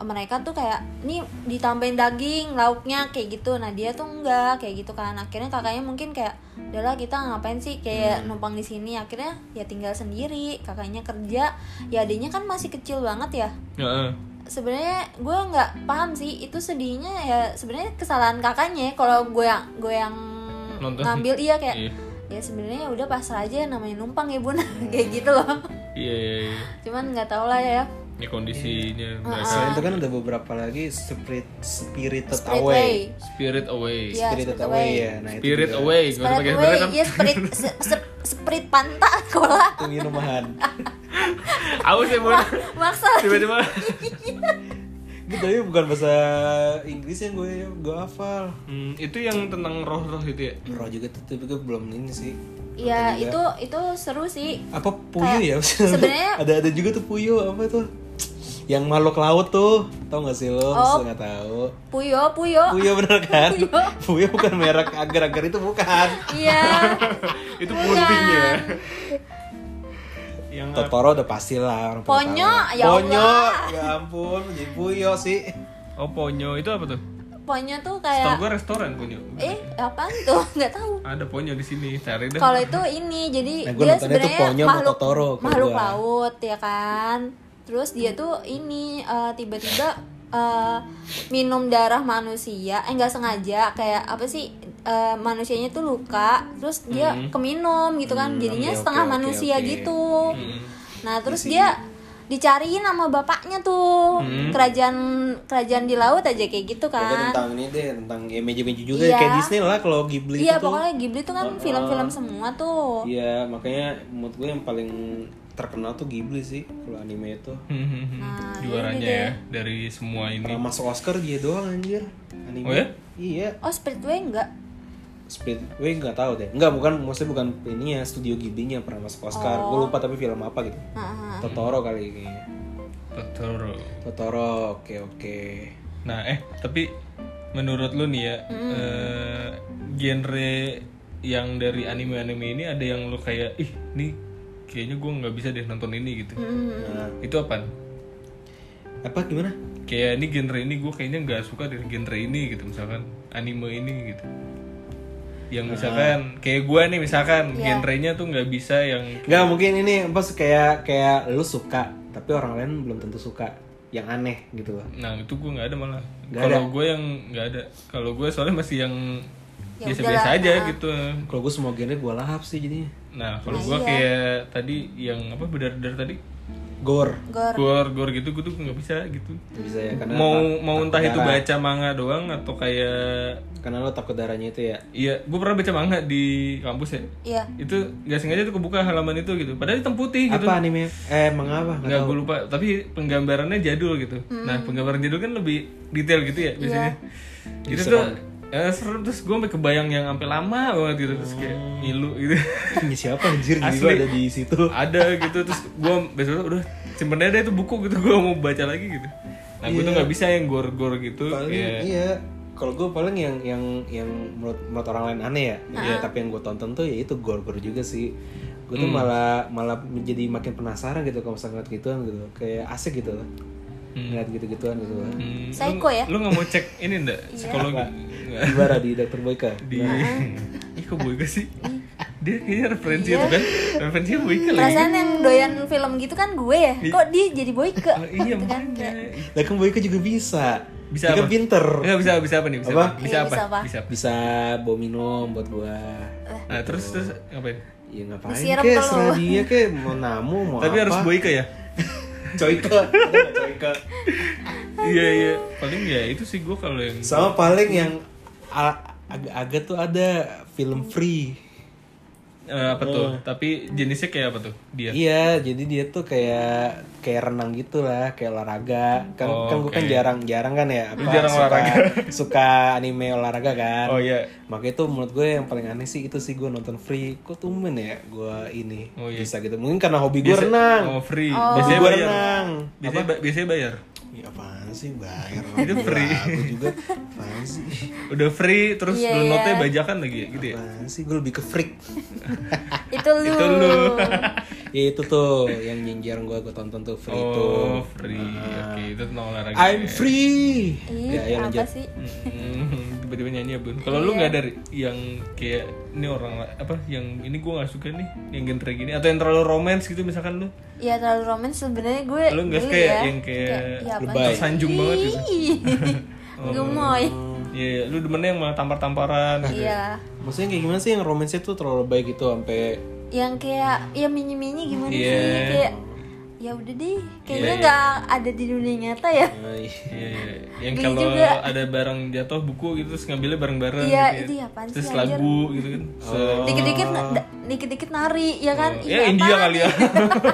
A: eh, mereka tuh kayak nih ditambahin daging lauknya kayak gitu nah dia tuh enggak kayak gitu kan akhirnya kakaknya mungkin kayak udahlah kita ngapain sih kayak
B: Hmm.
A: numpang di sini akhirnya ya tinggal sendiri kakaknya kerja ya adiknya kan masih kecil banget ya
B: Heeh.
A: sebenarnya gue nggak paham sih itu sedihnya ya sebenarnya kesalahan kakaknya ya. kalau gue yang gue yang
B: Nonton.
A: ngambil iya kayak
B: Iya.
A: ya sebenarnya udah pasrah aja namanya numpang ya bun (laughs) kayak gitu loh
B: Iya iya. iya.
A: cuman nggak tau lah ya Iya.
B: Ini kondisinya mereka
C: Selain itu kan ada beberapa lagi spirit spirited
A: Spirit
C: away.
A: Way.
B: spirit away.
A: Iya,
C: Spirited
A: Spirit
C: away
A: Away.
C: ya. Nah, itu
B: Spirit
C: juga.
B: away, gak usah
A: Spirit
B: pakai
A: Way,
B: spirit kan?
A: iya spirit se- se- spirit panta (laughs) kola.
C: Itu minuman.
B: (laughs) Aus
A: (laughs)
B: ya, Bun.
A: Maksa.
B: Tiba-tiba
C: Gitu tapi bukan bahasa Inggris yang gue gue hafal.
B: Hmm, itu yang tentang roh-roh itu ya.
C: Roh juga tuh tapi gue belum ini sih.
A: Iya, itu itu seru sih.
C: Apa puyuh ya? (laughs)
A: sebenarnya-
C: ada ada juga tuh puyuh apa tuh? Yang makhluk laut tuh, tau gak sih lo?
A: Oh.
C: Masa gak tahu.
A: Puyo, puyo.
C: Puyuh bener kan?
A: Puyuh.
C: Puyuh bukan merek agar-agar itu bukan.
A: (laughs) Iya.
B: itu
A: Bukan.
B: punting ya.
A: (laughs)
B: yang
C: Totoro udah pasti lah orang
A: Ponyo,
C: Ponyo,
A: ya
C: Ponyo,
A: Allah.
C: ya ampun, jadi Puyo sih.
B: oh ponyo itu apa tuh?
A: Ponyo tuh
B: Tahu
A: kayak
B: gue restoran ponyo.
A: eh apaan tuh? (laughs) Nggak tahu.
B: Ada ponyo di sini, cari deh.
A: Kalau itu ini jadi
C: Nah, gua
A: dia
C: nontonnya tuh Ponyo
A: sebenarnya
C: sama
A: makhluk
C: Totoro, kalau
A: makhluk
C: gua.
A: laut ya kan. Terus dia tuh ini eh, tiba-tiba eh, minum darah manusia, eh nggak sengaja kayak apa sih eh, manusianya tuh luka, terus dia
B: Hmm.
A: keminum gitu kan,
C: Hmm,
A: jadinya
C: oke,
A: setengah
C: oke,
A: manusia
C: oke.
A: gitu.
B: Hmm.
A: Nah terus
C: Isi.
A: dia dicariin sama bapaknya tuh
B: Hmm.
A: kerajaan kerajaan di laut aja kayak gitu kan.
C: Pokoknya tentang ini deh, tentang ya meja-meja juga
A: Iya.
C: kayak Disney lah kalau Ghibli
A: Iya
C: itu tuh.
A: pokoknya Ghibli tuh kan
C: Oh,
A: film-film
C: oh.
A: semua tuh.
C: Iya, makanya menurut gue yang paling terkenal tuh Ghibli sih kalau anime itu.
B: Hmm, hmm, hmm.
A: Nah,
B: Juaranya
A: ini
B: ya dari semua ini.
C: Pernah masuk Oscar dia doang anjir anime.
B: Oh ya?
C: Iya.
A: Oh Spiritway enggak?
C: Speed, gue nggak tahu deh. Nggak, bukan, maksudnya bukan ini ya studio Ghibli-nya pernah masuk Oscar. Gue
A: Oh.
C: lupa tapi film apa gitu.
A: Heeh.
C: Totoro kali kayaknya.
B: Totoro.
C: Totoro, oke oke.
B: Nah, eh tapi menurut lu nih ya,
A: Hmm.
B: eh, genre yang dari anime-anime ini ada yang lu kayak ih, nih kayaknya gue nggak bisa deh nonton ini gitu.
A: Hmm.
C: Nah,
B: Itu apa?
C: apa gimana?
B: Kayak ini genre ini gue kayaknya nggak suka dari genre ini gitu, misalkan anime ini gitu.
C: Ah.
B: Yang misalkan kayak gue nih misalkan
A: Iya.
B: genrenya tuh nggak bisa yang
C: Nggak mungkin ini bos kayak kayak lu suka tapi orang lain belum tentu suka yang aneh gitu loh.
B: Nah itu gue nggak ada malah.
C: Nggak
B: Kalau gue yang nggak ada. Kalau gue soalnya masih yang
A: Ya
B: biasa-biasa aja gitu.
C: Kalau gue semua genre gue lahap sih jadinya.
B: Nah kalau gue
A: iya.
B: kayak tadi yang apa bedar-bedar tadi
C: Gore.
A: Gor.
B: gor gor gitu gue tuh nggak bisa gitu.
C: Nggak Bisa ya karena
B: Mau
C: ta-
B: mau
C: takut
B: entah itu
C: darah.
B: baca manga doang atau kayak
C: Karena lo takut darahnya itu ya.
B: iya gue pernah baca manga di kampus ya
A: Iya.
B: itu nggak sengaja tuh kebuka halaman itu gitu padahal hitam putih gitu
C: Apa anime? Eh, mengapa?
B: nggak gue lupa tapi penggambarannya jadul gitu nah penggambaran jadul kan lebih detail gitu ya biasanya jadi tuh eh, serem terus gue sampai kebayang yang sampai lama banget gitu terus kayak ngilu gitu (laughs)
C: Ini siapa anjir
B: Asli.
C: gue ada di situ.
B: ada gitu terus gue besok udah simpen aja deh itu buku gitu gue mau baca lagi gitu nah gue tuh nggak bisa yang gor-gor gitu
C: Paling
B: kayak
C: iya. Kalau gue paling yang yang yang menurut, menurut orang lain aneh ya. Tapi yang gue tonton tuh ya itu gore-gore juga sih. Gue
B: Hmm.
C: tuh malah malah menjadi makin penasaran gitu kalau misalnya ngeliat gituan gitu. Kayak asik gitu loh. Ngeliat gitu-gituan gitu loh.
B: hmm,
A: Psycho
B: lu,
A: ya?
B: lu nggak mau cek ini ndak psikologi Nggak.
C: Gimana di Dr. Boyka?
B: di (laughs) ih kok boy sih dia kayaknya referensi itu kan referensinya boy lagi
A: Perasaan yang doyan film gitu kan gue ya.
B: Iya.
A: Kok dia jadi boyke?
B: (laughs) Oh, iya
A: Gitu kan?
B: makanya
C: Lah kan Boyka juga bisa.
B: Bisa
C: Dia kan
B: apa? Iya.
C: pinter.
B: Enggak bisa bisa apa nih? Bisa
C: Apa?
B: apa? Bisa
A: Iya,
B: apa?
A: bisa apa?
B: Bisa apa?
C: Bisa bawa minum buat gua.
B: Nah, terus terus ngapain?
C: Ya ngapain
A: Disiram
C: kek,
A: kalau-
C: serah dia kek, mau namu, mau
B: Tapi
C: apa.
B: harus boyke ya?
C: Coika, Ada nggak coika.
B: Iya iya. Paling ya itu sih gue kalau yang
C: Sama paling yang a- agak-agak tuh ada film free.
B: eh, apa
C: Oh.
B: tuh? Tapi jenisnya kayak apa tuh? Dia.
C: Iya, jadi dia tuh kayak kayak renang gitu lah, kayak olahraga. Kan
B: Oh,
C: kan gue kan
B: oke.
C: jarang-jarang kan ya, apa,
B: jarang
C: suka,
B: olahraga.
C: (laughs) suka anime olahraga kan.
B: Oh iya.
C: Makanya itu menurut gue yang paling aneh sih itu sih gue nonton free. Kok tumben ya gue ini
B: Oh, iya.
C: bisa gitu. Mungkin karena hobi gue
B: Oh,
C: renang.
B: free.
C: Hobi
B: Biasanya
C: gue
B: bayar.
C: renang.
B: Biasanya, ba- biasanya bayar.
C: Ya apaan sih bayar
B: Itu free.
C: Aku juga apaan sih?
B: Udah free terus
A: Iya,
B: downloadnya
A: iya.
B: bajakan lagi ya gitu ya.
C: Apaan sih gue lebih ke freak.
A: Itu lu.
B: Itu lu.
C: ya itu tuh yang nyinjir gue gue tonton tuh free
B: Oh,
C: tuh.
B: free. Oke, itu tentang olahraga. ya.
C: I'm free.
A: Ih,
C: ya, ya
A: Iya, apa
C: lanjut.
A: sih?
B: Hmm, tiba-tiba nyanyi ya bun kalau
A: Iya.
B: lu nggak dari yang kayak ini orang la- apa yang ini gue nggak suka nih yang genre gini atau yang terlalu romance gitu misalkan lu
A: Ya terlalu romans sebenarnya gue
B: lu nggak suka
A: geli
B: ya
A: ya.
B: yang kayak
A: ya apaan
C: lebay.
B: tersanjung banget Oh. gitu
A: Ih, Gemoy.
B: Iya, iya. lu demennya yang malah tampar-tamparan gitu.
A: Iya.
C: Maksudnya kayak gimana sih yang romansnya tuh terlalu baik gitu sampai
A: Yang kayak ya mini-mini gimana
B: Iya.
A: sih kayak ya udah deh kayaknya nggak ada di dunia nyata ya
B: Iya, iya. yang
A: Geli
B: kalau
A: juga.
B: ada barang jatuh buku gitu terus ngambilnya bareng-bareng
A: Iya,
B: gitu
A: itu ya apaan
B: terus
A: sih, anjir?
B: lagu gitu kan Se-
A: dikit-dikit na- dikit-dikit nari ya kan
B: ya
A: Iya,
B: India
A: apaan
B: kali ya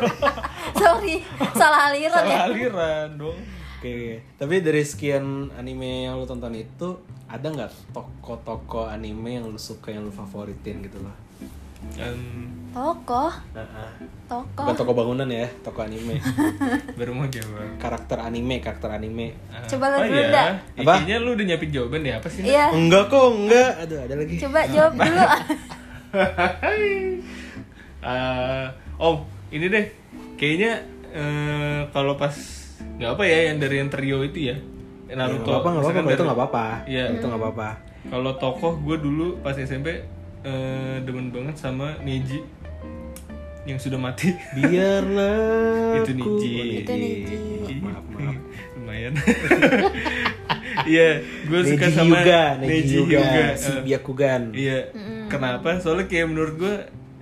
A: (laughs) sorry salah aliran ya
B: salah aliran dong
C: Oke, oke. tapi dari sekian anime yang lu tonton itu ada nggak toko-toko anime yang lu suka yang lu favoritin gitu loh?
B: Em,
A: tokoh
C: Heeh.
A: tokoh
C: Bukan toko bangunan ya, toko
A: (laughs)
C: anime.
B: baru mau jawab
C: karakter anime, karakter anime.
B: Ah,
A: Coba
B: apa
A: lu dulu,
B: ya?
A: Nda.
B: Ih,
C: Apa?
B: Kayaknya lu udah nyiapin jawaban deh apa sih? Nda?
A: iya
C: Enggak kok, enggak. Aduh, ada lagi.
A: coba jawab dulu
B: (laughs) Eh, oh, ini deh. Kayaknya eh, kalau pas nggak apa ya yang dari yang trio itu ya.
C: Ya, nggak
B: Naruto.
C: apa-apa, nggak apa-apa.
B: Misalkan
C: kalau Itu
B: dari-
C: nggak apa-apa.
B: Iya.
C: Itu nggak apa-apa.
B: Kalau tokoh gue dulu pas SMP eh, demen banget sama Neji yang sudah mati. (laughs)
C: Biarlah.
B: Itu
C: aku-
B: Niji.
C: Oh,
A: Itu Niji.
C: Maaf, maaf.
B: (laughs) Lumayan. Iya, gue suka
C: Neji
B: sama
C: Hyuga, Neji Hyuga, si
B: Eh,
C: Byakugan.
B: Iya. Kenapa? Soalnya kayak menurut gue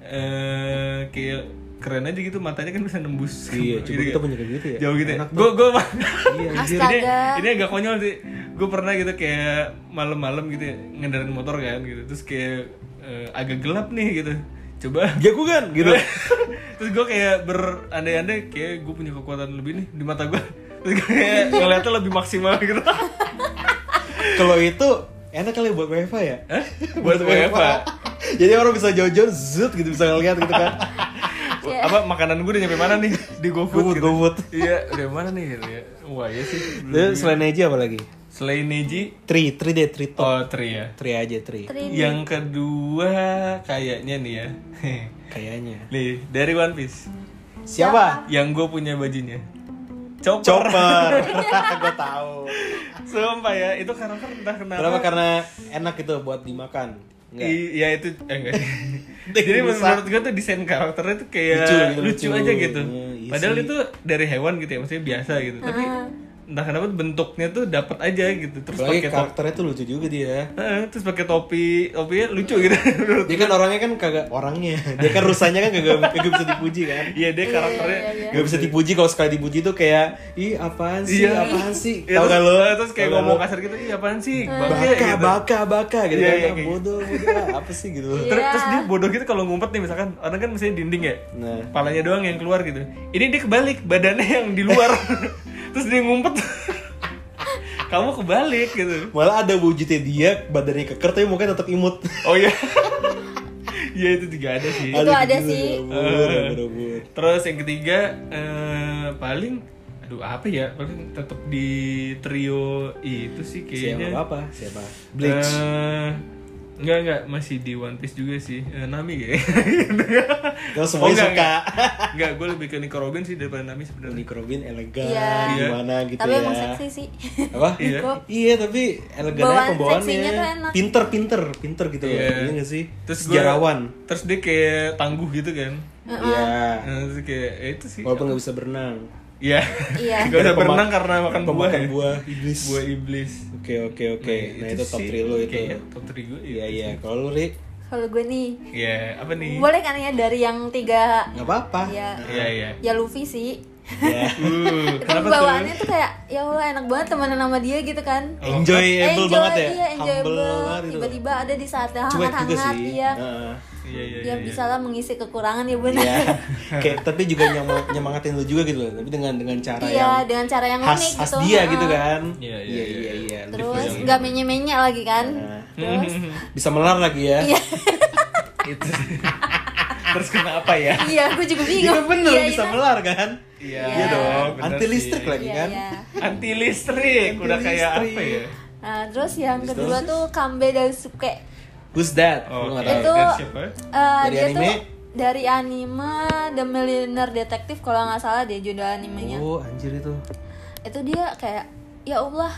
B: eh kayak keren aja gitu matanya kan bisa nembus.
C: Iya, coba
B: Gitu
C: kita
B: kan.
C: punya kayak gitu ya.
B: Jauh gitu. ya.
C: Enak
B: Gue gue (laughs)
C: Iya, anjir.
B: ini
A: astaga
B: ini agak konyol sih. Gue pernah gitu kayak malam-malam gitu ya, ngendarin motor kan gitu. Terus kayak eh, agak gelap nih gitu. Coba
C: Byakugan (laughs) gitu.
B: (laughs) terus gue kayak berandai-andai kayak gue punya kekuatan lebih nih di mata gue terus gua kayak ngeliatnya lebih maksimal gitu
C: Kalau itu enak kali buat WFA ya.
B: Eh? buat WFA
C: (laughs) Jadi orang bisa jauh-jauh zut gitu bisa ngeliat gitu kan.
B: (laughs)
A: Iya.
B: apa makanan gue udah nyampe mana nih (laughs) di GoFood
C: Gofood,
B: gitu.
C: GoFood.
B: iya udah mana nih gitu ya wah iya sih belum.
C: Terus selain Neji apa lagi?
B: selain Neji
C: Tri, tri deh, tri top.
B: oh Tri ya
C: Tri aja, tri.
A: Trini
B: yang kedua kayaknya nih ya (laughs)
C: Kayaknya.
B: nih dari One Piece
C: Siapa?
B: yang gue punya bajunya Chopper.
C: Chopper. Gue tahu.
B: Sumpah ya, itu karakter entah (laughs) kenapa.
C: Kenapa? Karena enak gitu buat dimakan. Enggak.
B: I- Iya itu eh,
C: (laughs)
B: enggak.
C: Dek,
B: Jadi
C: rusak.
B: menurut gue tuh desain karakternya tuh kayak
C: Lucu
B: lucu,
C: gitu, lucu.
B: aja gitu.
C: Iya, iya
B: Padahal
C: sih.
B: itu dari hewan gitu ya, maksudnya biasa gitu. Tapi entah kenapa bentuknya tuh dapat aja gitu. Terus
C: Apalagi
B: pakai topi,
C: karakternya tuh lucu juga dia.
B: Heeh, terus pakai topi, topinya lucu gitu. (laughs) menurut-
C: Dia kan orangnya kan kagak orangnya. Dia kan rusanya kan kagak, kagak bisa dipuji kan.
B: Iya dia karakternya.
C: Gak bisa dipuji kalau sekali dipuji tuh kayak ih apaan sih
B: Iya.
C: apaan sih
B: Iya,
C: tau
B: terus-
C: gak lo
B: Terus kayak
C: Tau gak
B: ngomong
C: lo?
B: kasar gitu, iya apaan sih?
C: baka
B: Bangke gitu.
C: baka baka gitu
B: Iya,
C: kan
B: iya,
C: Ah,
B: kayak
C: bodoh bodoh ah, apa sih gitu
A: Iya.
B: Ter- Terus dia bodoh gitu kalau ngumpet nih misalkan orang kan misalnya dinding ya.
C: nah
B: Palanya doang yang keluar gitu. Ini dia kebalik, badannya yang di
C: (laughs)
B: luar. Terus dia ngumpet. Kamu kebalik gitu.
C: malah ada wujudnya dia badannya keker tapi mukanya tetap imut
B: Oh iya. Iya itu juga ada sih.
A: Itu ada
C: gitu,
A: sih.
C: rambut, rambut, rambut.
B: Terus yang ketiga eh, paling aduh apa ya? Paling tetap di trio itu sih
C: siapa
B: kayaknya.
C: apa siapa bleach
B: Eh, enggak enggak masih di One Piece juga sih. Eh, Nami kayaknya. Oh,
C: Terus semuanya
B: enggak,
C: suka.
B: Enggak, enggak gue lebih ke Nico Robin sih daripada Nami sebenarnya.
C: Nick Robin elegan
A: (laughs) Iya.
C: gimana gitu
A: tapi
C: ya
A: emang seksi sih (laughs)
C: apa
B: Iya.
C: iya tapi elegan aja
A: Bawaan seksinya tuh
C: pembawaannya
A: enak.
C: pinter pinter pinter gitu loh
B: Iya.
C: iya gak sih
B: Terus gua-
C: sejarawan
B: Terus dia kayak tangguh gitu kan.
C: iya
B: Nah, terus kayak ya itu sih.
C: walaupun nggak bisa berenang
B: Iya. (laughs)
A: Iya.
B: Gak bisa
C: Pema-
B: berenang karena makan buah.
C: pemakan
B: ya.
C: buah iblis
B: Buah iblis.
C: oke oke oke nah itu top
B: Iya, sih
C: 3 lo itu
B: kayaknya top 3 gue.
C: iya iya kalau lu ri
A: kalau gue nih
B: Iya, apa nih?
A: boleh kan ya dari yang tiga
C: nggak apa apa
A: Iya.
B: Iya, iya.
A: ya Luffy sih
B: (laughs)
C: (laughs) ya
B: Uh,
A: kan
B: kenapa tuh?
A: bawaannya tuh kayak ya Allah enak banget temenan sama dia gitu kan
C: enjoyable
A: Enjoy,
C: Oh, banget ya
A: iya, enjoyable.
C: humble banget gitu loh.
A: tiba-tiba ada di saat yang
C: cuek juga
A: hangat-hangat
C: sih
A: iya
C: Heeh.
B: Iya, iya, iya.
A: ya bisa lah mengisi kekurangan ya benar (laughs)
B: (laughs)
C: Iya. kayak tapi juga nyema- nyemangatin lu juga gitu loh tapi dengan dengan cara
A: iya
C: yang
A: dengan cara yang
C: khas
A: unik
C: khas
A: gitu
C: dia
A: Heeh.
C: gitu kan
B: Iya, iya,
C: iya
B: iya,
C: iya iya
A: terus nggak menye-menye lagi kan
C: Nah.
A: terus
C: bisa melar lagi ya
A: iya
B: Itu. (laughs) terus kenapa ya?
A: iya gue juga
C: (laughs) Iya
A: bingung
C: bener
A: iya,
C: bisa
A: iya.
C: melar kan
B: Iya,
A: Iya
B: dong. bener
C: anti
B: sih.
C: listrik lagi
A: Iya,
C: kan
A: iya.
B: Anti listrik,
C: Anti
B: udah kayak
C: listrik.
B: apa ya?
A: Nah, terus yang kedua tuh Kambe Daisuke
C: who's that Lu nggak tahu.
A: Itu-
B: dari siapa?
A: Eh,
C: Dari
A: dia
C: anime?
A: tuh dari anime The Millionaire Detective kalau nggak salah dia judul animenya
C: oh anjir itu
A: itu dia kayak ya Allah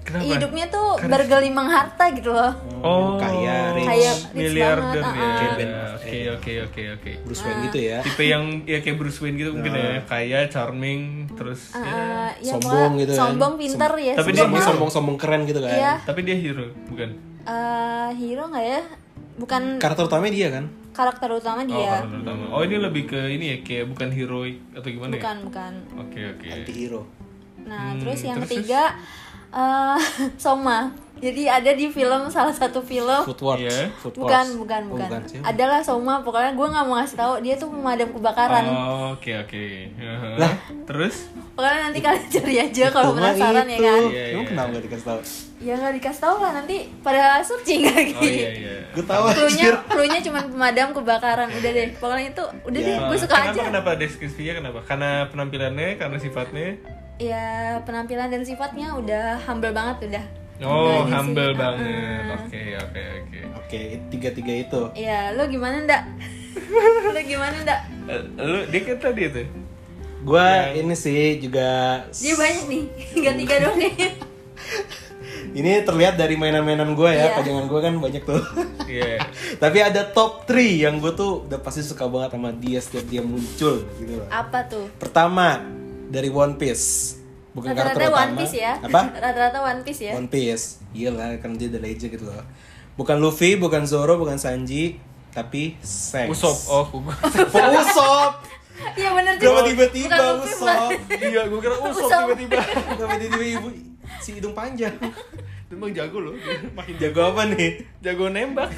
B: Kenapa?
A: hidupnya tuh bergelimang harta gitu loh
B: Oh,
C: kaya rich
A: Kayak rich
B: miliarder
A: banget,
B: ya.
C: ah. Kayak Ben-
B: Oke, oke, oke, oke.
C: Bruce
A: Nah.
C: Wayne gitu ya
B: Tipe yang ya kayak Bruce Wayne gitu mungkin ya, kaya, charming, terus
C: Oh.
B: ya.
A: Eh, ya,
C: Sombong
A: pokoknya
C: gitu kan.
A: sombong pinter ya
B: Tapi dia
A: sombong.
C: sombong sombong sombong keren gitu kan
A: Iya.
B: Tapi dia hero, bukan?
A: Eh, hero nggak ya bukan
C: karakter utamanya dia kan
A: karakter utama
B: Oh,
A: dia
B: karakter utama. Oh, ini lebih ke ini ya, kayak bukan heroik atau gimana ya?
A: bukan bukan
B: Oke, oke.
C: anti hero
A: nah
B: Hmm,
A: terus yang ketiga eh, (laughs) Soma jadi ada di film salah satu film
C: footwork
B: Iya.
A: bukan bukan
B: Oh,
C: Oh,
A: bukan adalah Soma pokoknya gue nggak mau ngasih tahu dia tuh pemadam kebakaran
B: Oh, oke, oke. Haha. (laughs) Terus?
A: pokoknya nanti kalian (laughs) cari aja kalau penasaran ya kan
B: Iya,
C: Emang
B: iya.
C: kenapa gak dikasih tau?
A: ya nggak dikasih tahu lah nanti pada searching (laughs) lagi
B: Oh iya, (laughs) iya.
C: Gue tau (laughs)
A: Cluenya,
C: anjir
A: cluenya cuma pemadam
B: (laughs)
A: kebakaran udah deh pokoknya itu udah deh
B: Ah,
A: gue suka
B: kenapa,
A: aja
B: Kenapa deskripsinya kenapa? Karena penampilannya, karena sifatnya.
A: ya penampilan dan sifatnya udah humble banget udah iya
B: Oh, humble
A: Ah,
B: banget. Oke, oke, oke.
C: Oke, tiga-tiga itu
A: ya lo gimana ndak (laughs) lo gimana ndak
B: Eh, Lu dia kan tadi tuh.
C: Gue
B: Iya.
C: ini sih juga
A: dia banyak nih (laughs) tiga tiga doang nih
C: Ini terlihat dari mainan-mainan gue ya
A: Iya.
C: Pajangan gue kan banyak tuh
B: (laughs)
C: (laughs)
B: Iya.
C: Tapi ada top 3 yang gue tuh udah pasti suka banget sama dia setiap dia muncul gitu loh
A: apa tuh
C: Pertama, dari One Piece Bukan karakter
A: rata-rata
C: utama
A: one piece ya (laughs)
C: Apa?
A: rata-rata one piece ya
C: One Piece. Iyalah kan dia the legend gitu loh. Bukan Luffy, bukan Zoro, bukan Sanji, tapi Shanks.
B: Usop. Oh, gua.
C: Oh, (laughs) Usopp.
A: iya bener
C: Kenapa
A: juga.
C: tiba-tiba
A: Bukan Luffy,
C: Usopp?
B: iya, gua
A: (laughs)
B: kira usop
A: Usop.
B: tiba-tiba.
C: Kenapa tiba-tiba ibu si hidung panjang?
B: Emang jago loh. (laughs) Makin
C: Jago apa
A: (laughs)
C: nih?
B: jago nembak.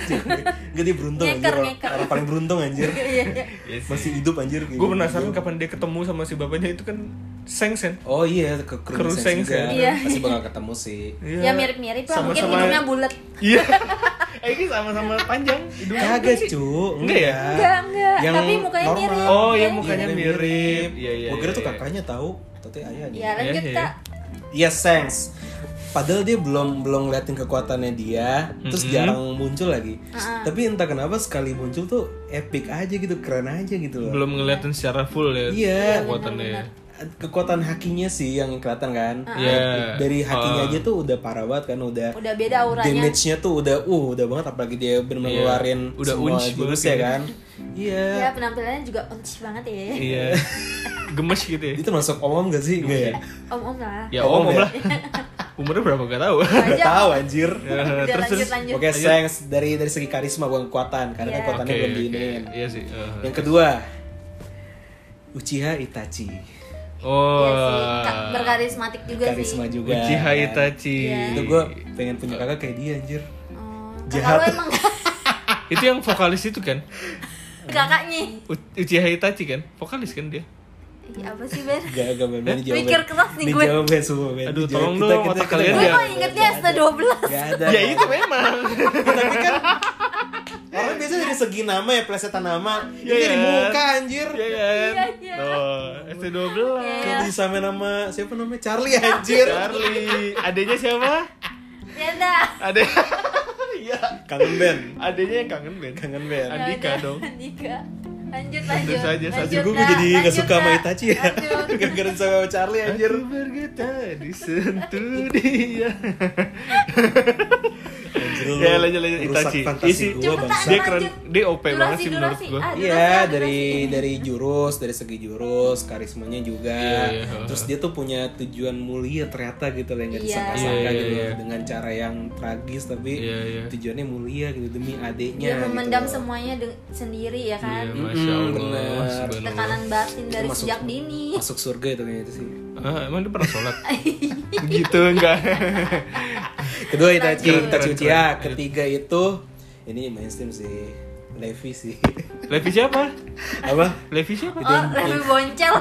C: Gak dia beruntung
A: Ngeker,
C: anjir. orang-
A: ngeker.
C: Orang paling beruntung anjir.
A: Iya, iya.
B: Iya sih.
C: Masih hidup anjir. kayak
B: Gue
C: gitu.
B: penasaran kapan dia ketemu sama si bapaknya itu kan Sengs kan?
C: Oh iya, ke kru
B: Kru
C: Shanks
B: Shanks
A: ya?
C: juga.
A: Iya.
C: Pasti bakal ketemu sih.
A: ya mirip-mirip lah mungkin
B: Sama-sama-
A: hidungnya
C: ya.
A: bulat
B: Iya. Eh, Ini sama-sama panjang hidungnya.
C: Kagak cu,
B: Enggak ya?
A: enggak enggak
C: Yang
A: tapi mukanya
C: normal.
A: mirip
B: Oh,
A: ya
B: yang mukanya mirip. Iya, iya.
C: Gue kira tuh
B: iya.
C: kakaknya tahu, tapi ayahnya.
A: ya lanjut
B: Iya, iya.
A: kak
C: Iya Sengs Padahal dia belum belum ngeliatin kekuatannya dia, terus
B: Mhm.
C: jarang muncul lagi.
A: Uh-uh.
C: Tapi entah kenapa sekali muncul tuh epic aja gitu, keren aja gitu loh.
B: Belum ngeliatin secara full ya
C: Iya.
B: kekuatannya.
C: Kekuatan hakinya sih yang kelihatan kan.
B: Iya.
C: Dari hakinya aja tuh udah parah banget kan, udah
A: Uh-uh. udah beda auranya
C: damage-nya tuh udah uh udah banget apalagi dia benar
B: Iya.
C: ngeluarin
B: Udah
C: semua
B: unch banget
C: jurus ya
B: kayaknya.
C: kan. Iya.
A: ya penampilannya juga unci banget ya
B: Iya. Gemes gitu ya.
C: Itu masuk omong gak sih?
A: Iya.
C: (laughs) Enggak ya?
A: om om lah
B: Ya om, om lah. Umurnya berapa gak (laughs) tahu.
C: Gak
A: aja
C: tahu anjir.
A: udah
B: Terus,
A: lanjut
B: terus.
A: lanjut
C: Oke, Sengs dari dari segi karisma bukan kekuatan, karena
A: Iya.
C: kekuatannya
B: Oke,
C: belum
B: oke.
C: diinin.
B: Iya sih. eh.
C: Yang kedua, Uchiha Itachi.
A: Iya
B: Oh.
A: sih, ka- berkarismatik juga
C: Karisma
A: sih. Oh,
C: juga. kan?
B: Uchiha Itachi.
C: Itu gue pengen punya kakak kayak dia anjir.
A: Oh, kakak
C: Jahat.
A: lo emang (laughs)
B: Itu yang vokalis itu kan?
C: (laughs)
A: kakaknya.
B: U- Uchiha Itachi kan? Vokalis kan dia?
A: Ih, apa sih Ben?
C: Gak, gak Ben, Ben, ini jawaban.
A: Mikir keras nih
C: Ini
A: gue.
C: jawaban semua, Ben.
B: Aduh,
C: Ini
B: tolong
C: jawaban.
B: dong, otak kalian
A: Gue
B: Iya.
A: kok ingetnya S12.
C: Gak
A: (laughs)
C: ada.
B: Ya itu (laughs) memang.
C: Tapi kan, orang biasa dari segi nama ya, plesetan nama. Ini
B: Iya,
C: dari
B: iya.
C: muka anjir.
B: Iya kan?
A: Iya, iya.
B: Oh, ST12.
A: Iya.
C: Jadi sama nama, siapa namanya? Charlie anjir.
B: Charlie, adanya siapa?
A: Ya dah.
B: Ade. Iya.
C: Kangen Ben.
B: Adanya yang kangen Ben.
C: Kangen
A: Ya
C: Ben.
A: udah,
B: Andika dong.
A: (laughs) Andika. Lanjut lanjut.
B: Terus aja,
A: lanjut,
B: saja.
C: Gue
A: Kak.
C: jadi gak
A: Lanjut,
C: suka sama
A: Kak.
C: Itachi ya.
A: Lanjut.
C: (laughs)
B: (laughs)
C: Gara-gara sama Charlie anjir.
B: Aku bergetar disentuh dia.
C: Anjir, lu
B: ya lanjut lanjut
C: merusak
B: Itachi.
C: fantasi
B: Isi-
C: gua,
A: Cepetan,
C: bangsa.
B: Dia keren,
A: lanjut.
B: dia OP banget
A: Durasi,
B: sih menurut
A: durasi.
B: gua.
A: Ah,
C: Iya
A: durasi, gitu.
C: dari dari jurus dari segi jurus karismanya juga
B: Iya, iya.
C: terus dia tuh punya tujuan mulia ternyata gitu loh yang gak
A: Iya.
C: disangka-sangka
B: Iya, iya,
C: gitu loh.
B: iya.
C: dengan cara yang tragis tapi
B: Iya, iya.
C: tujuannya mulia gitu demi
A: durasi.
C: adiknya
A: Iya, Dia memendam
C: gitu.
A: semuanya deng- sendiri ya
B: Iya,
A: kan.
B: masya
C: Mm-mm,
B: Allah.
C: bener.
B: subhanallah.
A: Tekanan batin dari
C: Masuk-
A: sejak dini.
C: masuk surga itu kayaknya itu sih
B: Ah, emang dia pernah
A: (laughs)
B: sholat? gitu enggak?
C: kedua Itachi
B: Keren,
C: Itachi
B: keren,
C: Uchiha
B: keren.
C: ya. ketiga itu ini mainstream sih Levi sih (laughs)
B: Levi siapa?
C: apa
B: Levi siapa?
A: Oh, lebih boncel.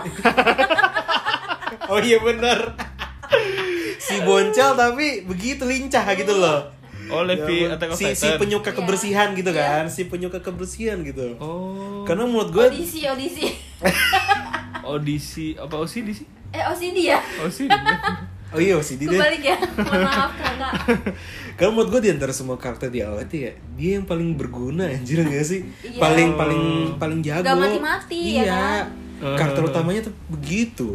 C: oh iya benar si boncel tapi begitu lincah gitu loh Ya
B: Oh Levi Attack of
C: si, si
B: Titan.
C: penyuka
A: Iya.
C: kebersihan gitu kan si penyuka kebersihan gitu
B: Oh,
C: karena menurut gue
A: Audisi, audisi.
B: audisi apa OC di
A: Eh, OCD ya?
B: OC.
C: oh iya sih dia
A: Kebalik ya? Mohon maaf
C: (laughs)
A: kakak.
C: karena menurut gue di antara semua karakter di awal itu ya dia yang paling berguna anjir gak sih
A: Iya.
C: paling paling
B: Oh.
C: paling jago
A: Gak mati-mati, ya
C: iya
A: kan?
C: karakter
B: Eh.
C: utamanya tuh begitu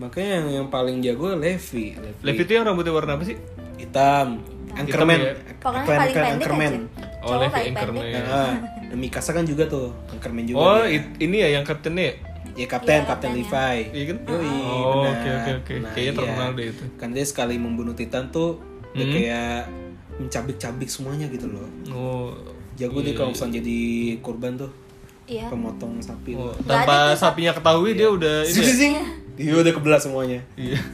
C: makanya yang yang paling jago Levi
B: Levi itu yang rambutnya warna apa sih?
C: hitam Anchorman
B: ya?
A: Pokoknya
C: Anchorman,
A: paling pendek
C: Anchorman.
A: aja.
B: Oh,
A: Cowok
B: Levi
A: paling
B: Anchorman.
A: pendek.
C: Nah, dan Mikasa kan juga tuh Anchorman juga
B: Oh,
C: dia.
B: it- ini ya yang kaptennya. ya?
C: Ya kapten,
A: Iya,
C: kapten
A: kaptennya.
C: Levi.
B: Iya kan?
C: Yoi,
B: Oh,
C: benar. Nah, iya.
B: oke, oke, oke. Kayaknya terkenal deh itu.
C: Kan dia sekali membunuh Titan tuh dia
B: Hmm.
C: kayak mencabik-cabik semuanya gitu loh
B: Oh,
C: jago deh kalau misalnya jadi korban tuh
A: Iya.
C: pemotong sapi
B: oh,
C: tuh (laughs)
B: tanpa sapinya ketahui dia udah ini.
C: Zing,
B: ya?
C: zing, zing. Iya udah kebelah semuanya
B: Iya.
C: (laughs)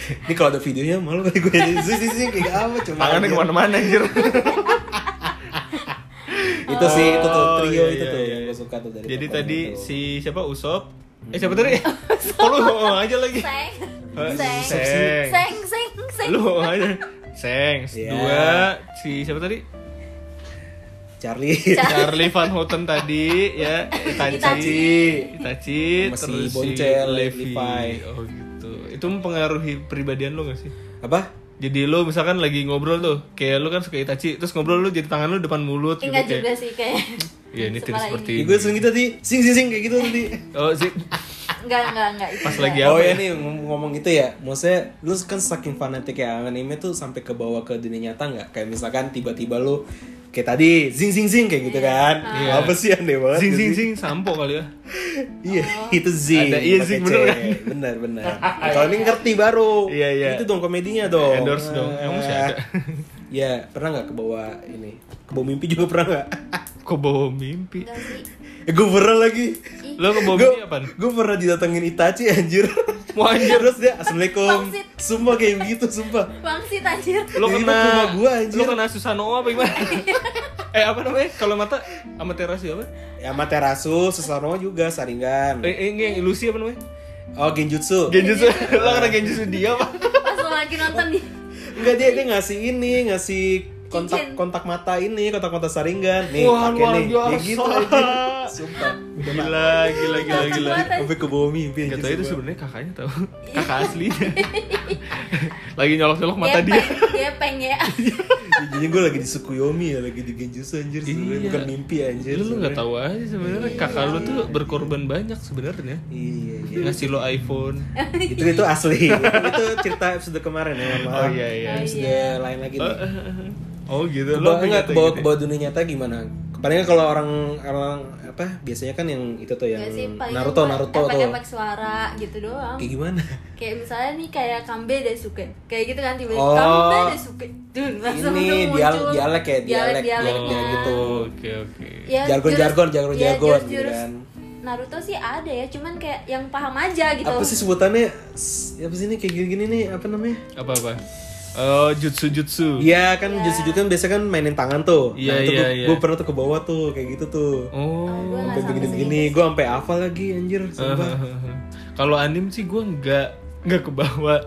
C: Ini kalau ada videonya malu kali gue Zing, zing, zing, kayak apa cuma
B: Tangannya
C: dia.
B: kemana-mana anjir.
C: Itu sih, itu tuh
B: Oh,
C: trio
B: iya,
C: itu
B: iya,
C: tuh
B: iya.
C: yang gue suka tuh dari
B: Jadi
C: perempuan
B: tadi
C: itu. Hmm.
B: si siapa Usop? Eh siapa
C: (laughs)
B: tadi? Kok lu ngomong aja lagi?
A: Seng.
B: Eh,
A: Seng.
B: Seng.
A: Seng, seng, seng.
B: Lu ngomong aja. Seng.
C: (laughs) Iya.
B: Dua si siapa tadi?
C: Charlie
B: Charlie Van Houten tadi ya
A: Itachi.
B: Itachi Itachi
C: Sama si
B: terus
C: Boncel,
B: si Levi
C: Levi.
B: oh gitu itu mempengaruhi pribadian lo gak sih
C: Apa?
B: jadi lo misalkan lagi ngobrol tuh kayak lo kan suka Itachi terus ngobrol lo jadi tangan lo depan mulut gitu
A: Enggak juga
B: kayak
A: sih kayaknya.
B: ya ini tidak
A: Separah
B: seperti
C: Ya,
B: ini
C: gue sering gitu tadi Sing, sing, sing kayak gitu tadi
B: oh sih
A: Enggak, enggak, enggak. Itu
B: Pas
A: enggak.
B: lagi (laughs) Ya,
C: oh
B: apa
C: ya
B: ya?
C: nih ngom- ngomong gitu ya, maksudnya lu kan saking fanatik ya anime tuh sampai ke bawah ke dunia nyata nggak? Kayak misalkan tiba-tiba lu kayak tadi zing zing zing kayak gitu kan?
B: Iya.
C: Apa sih
B: (laughs)
C: aneh banget?
B: sing
C: gitu.
B: sing sing sampo kali ya
C: Iya, itu zing.
B: Ada iya
C: pakai
B: zing,
C: C.
B: bener kan?
C: Bener
B: (laughs)
C: bener. Kalau ini ngerti baru.
B: Iya, iya.
C: Itu dong komedinya dong. Ah.
B: Endorse dong. Emang masih ada?
C: (laughs) Iya, pernah nggak ke bawah ini? Ke bawah mimpi juga pernah nggak? (laughs)
B: kok bawa mimpi
A: Enggak sih.
C: Eh, gue pernah lagi.
B: lo ke bawa
C: Gue-
B: mimpi apaan
C: Gue pernah didatengin Itachi anjir.
B: Wah, anjir.
C: Terus dia assalamualaikum.
A: Bangsit.
C: Sumpah kayak begitu, sumpah.
A: Bangsit anjir.
B: lo kena
C: Jadi lu ke rumah gua, anjir.
B: lo kena Susano apa gimana (laughs) eh apa namanya kalau mata Amaterasu apa
C: Ya Materasu, Susanoo juga, Saringan.
B: eh, eh, ini yang ilusi apa namanya
C: Oh Genjutsu.
B: Genjutsu lo kena Genjutsu dia apa
A: Pas lo lagi nonton di
C: Enggak dia dia ngasih ini, ngasih kontak
A: Cincin.
C: kontak mata ini, kontak mata Saringan. Nih,
B: Wah,
C: pakai
B: luar
C: nih. Ya
B: biasa.
C: gitu anjir. Sumpah.
B: gila gila gila gila
A: Mata.
C: Sampai ke bawah mimpi
B: Gak
C: anjir.
B: tau itu
C: sumpah.
B: sebenarnya kakaknya tau (laughs) Kakak
A: (laughs)
B: aslinya Lagi nyolok-nyolok mata dia
A: gepeng, Gepeng ya.
C: Jadinya gue lagi di Tsukuyomi ya, lagi di Genjutsu anjir. sebenarnya.
B: Iya.
C: Bukan mimpi anjir.
B: Lu lu
C: sebenarnya.
B: gak tau aja sebenarnya Kakak lu tuh berkorban banyak sebenarnya
C: Iya, iya.
B: Ngasih lo iPhone
C: itu itu
B: (laughs)
C: asli itu cerita episode kemarin ya mohon maaf
B: Oh, iya, iya.
C: episode lain lagi nih
B: Oh gitu
C: Kebawa-
B: pengen
C: enggak
B: kayak
C: bawa ke
B: gitu ya?
C: bawah dunia nyata gimana palingnya kalau orang orang apa biasanya kan yang itu
B: Iya.
C: tuh yang
A: Enggak Iya sih, paling
C: Naruto
A: cuma
C: Naruto tuh
A: Efek-efek suara gitu doang.
C: kayak gimana
A: Kayak misalnya nih kayak Kambe Daisuke. Kayak gitu kan tiba-tiba
C: Oh.
A: Kambe Daisuke. Dun, langsung
C: Ini
A: tuh muncul.
C: dial- dialek ya, dialek.
A: dialeknya.
C: Oh, gitu.
B: Oke oke
A: Ya,
C: Jargon-jargon,
A: jurus-
C: jargon-jargon
A: ya,
C: gitu
A: jurus-jurus
C: kan.
A: Naruto sih ada ya, cuman kayak yang paham aja gitu.
C: apa sih sebutannya S- apa sih ini kayak gini gini nih apa namanya
B: Apa-apa Oh jutsu-jutsu
C: Iya kan justru juga kan biasanya kan mainin tangan tuh.
B: Iya,
C: itu
B: iya,
C: gua-
B: iya.
C: gua pernah tuh ke bawah tuh kayak gitu tuh.
B: Oh
A: Gua nggak
C: Sampai
A: sampai
C: begini-begini, gue sampai hafal lagi anjir,
B: Eh,
C: sumpah.
B: (laughs) Kalau anim sih gue nggak nggak kebawa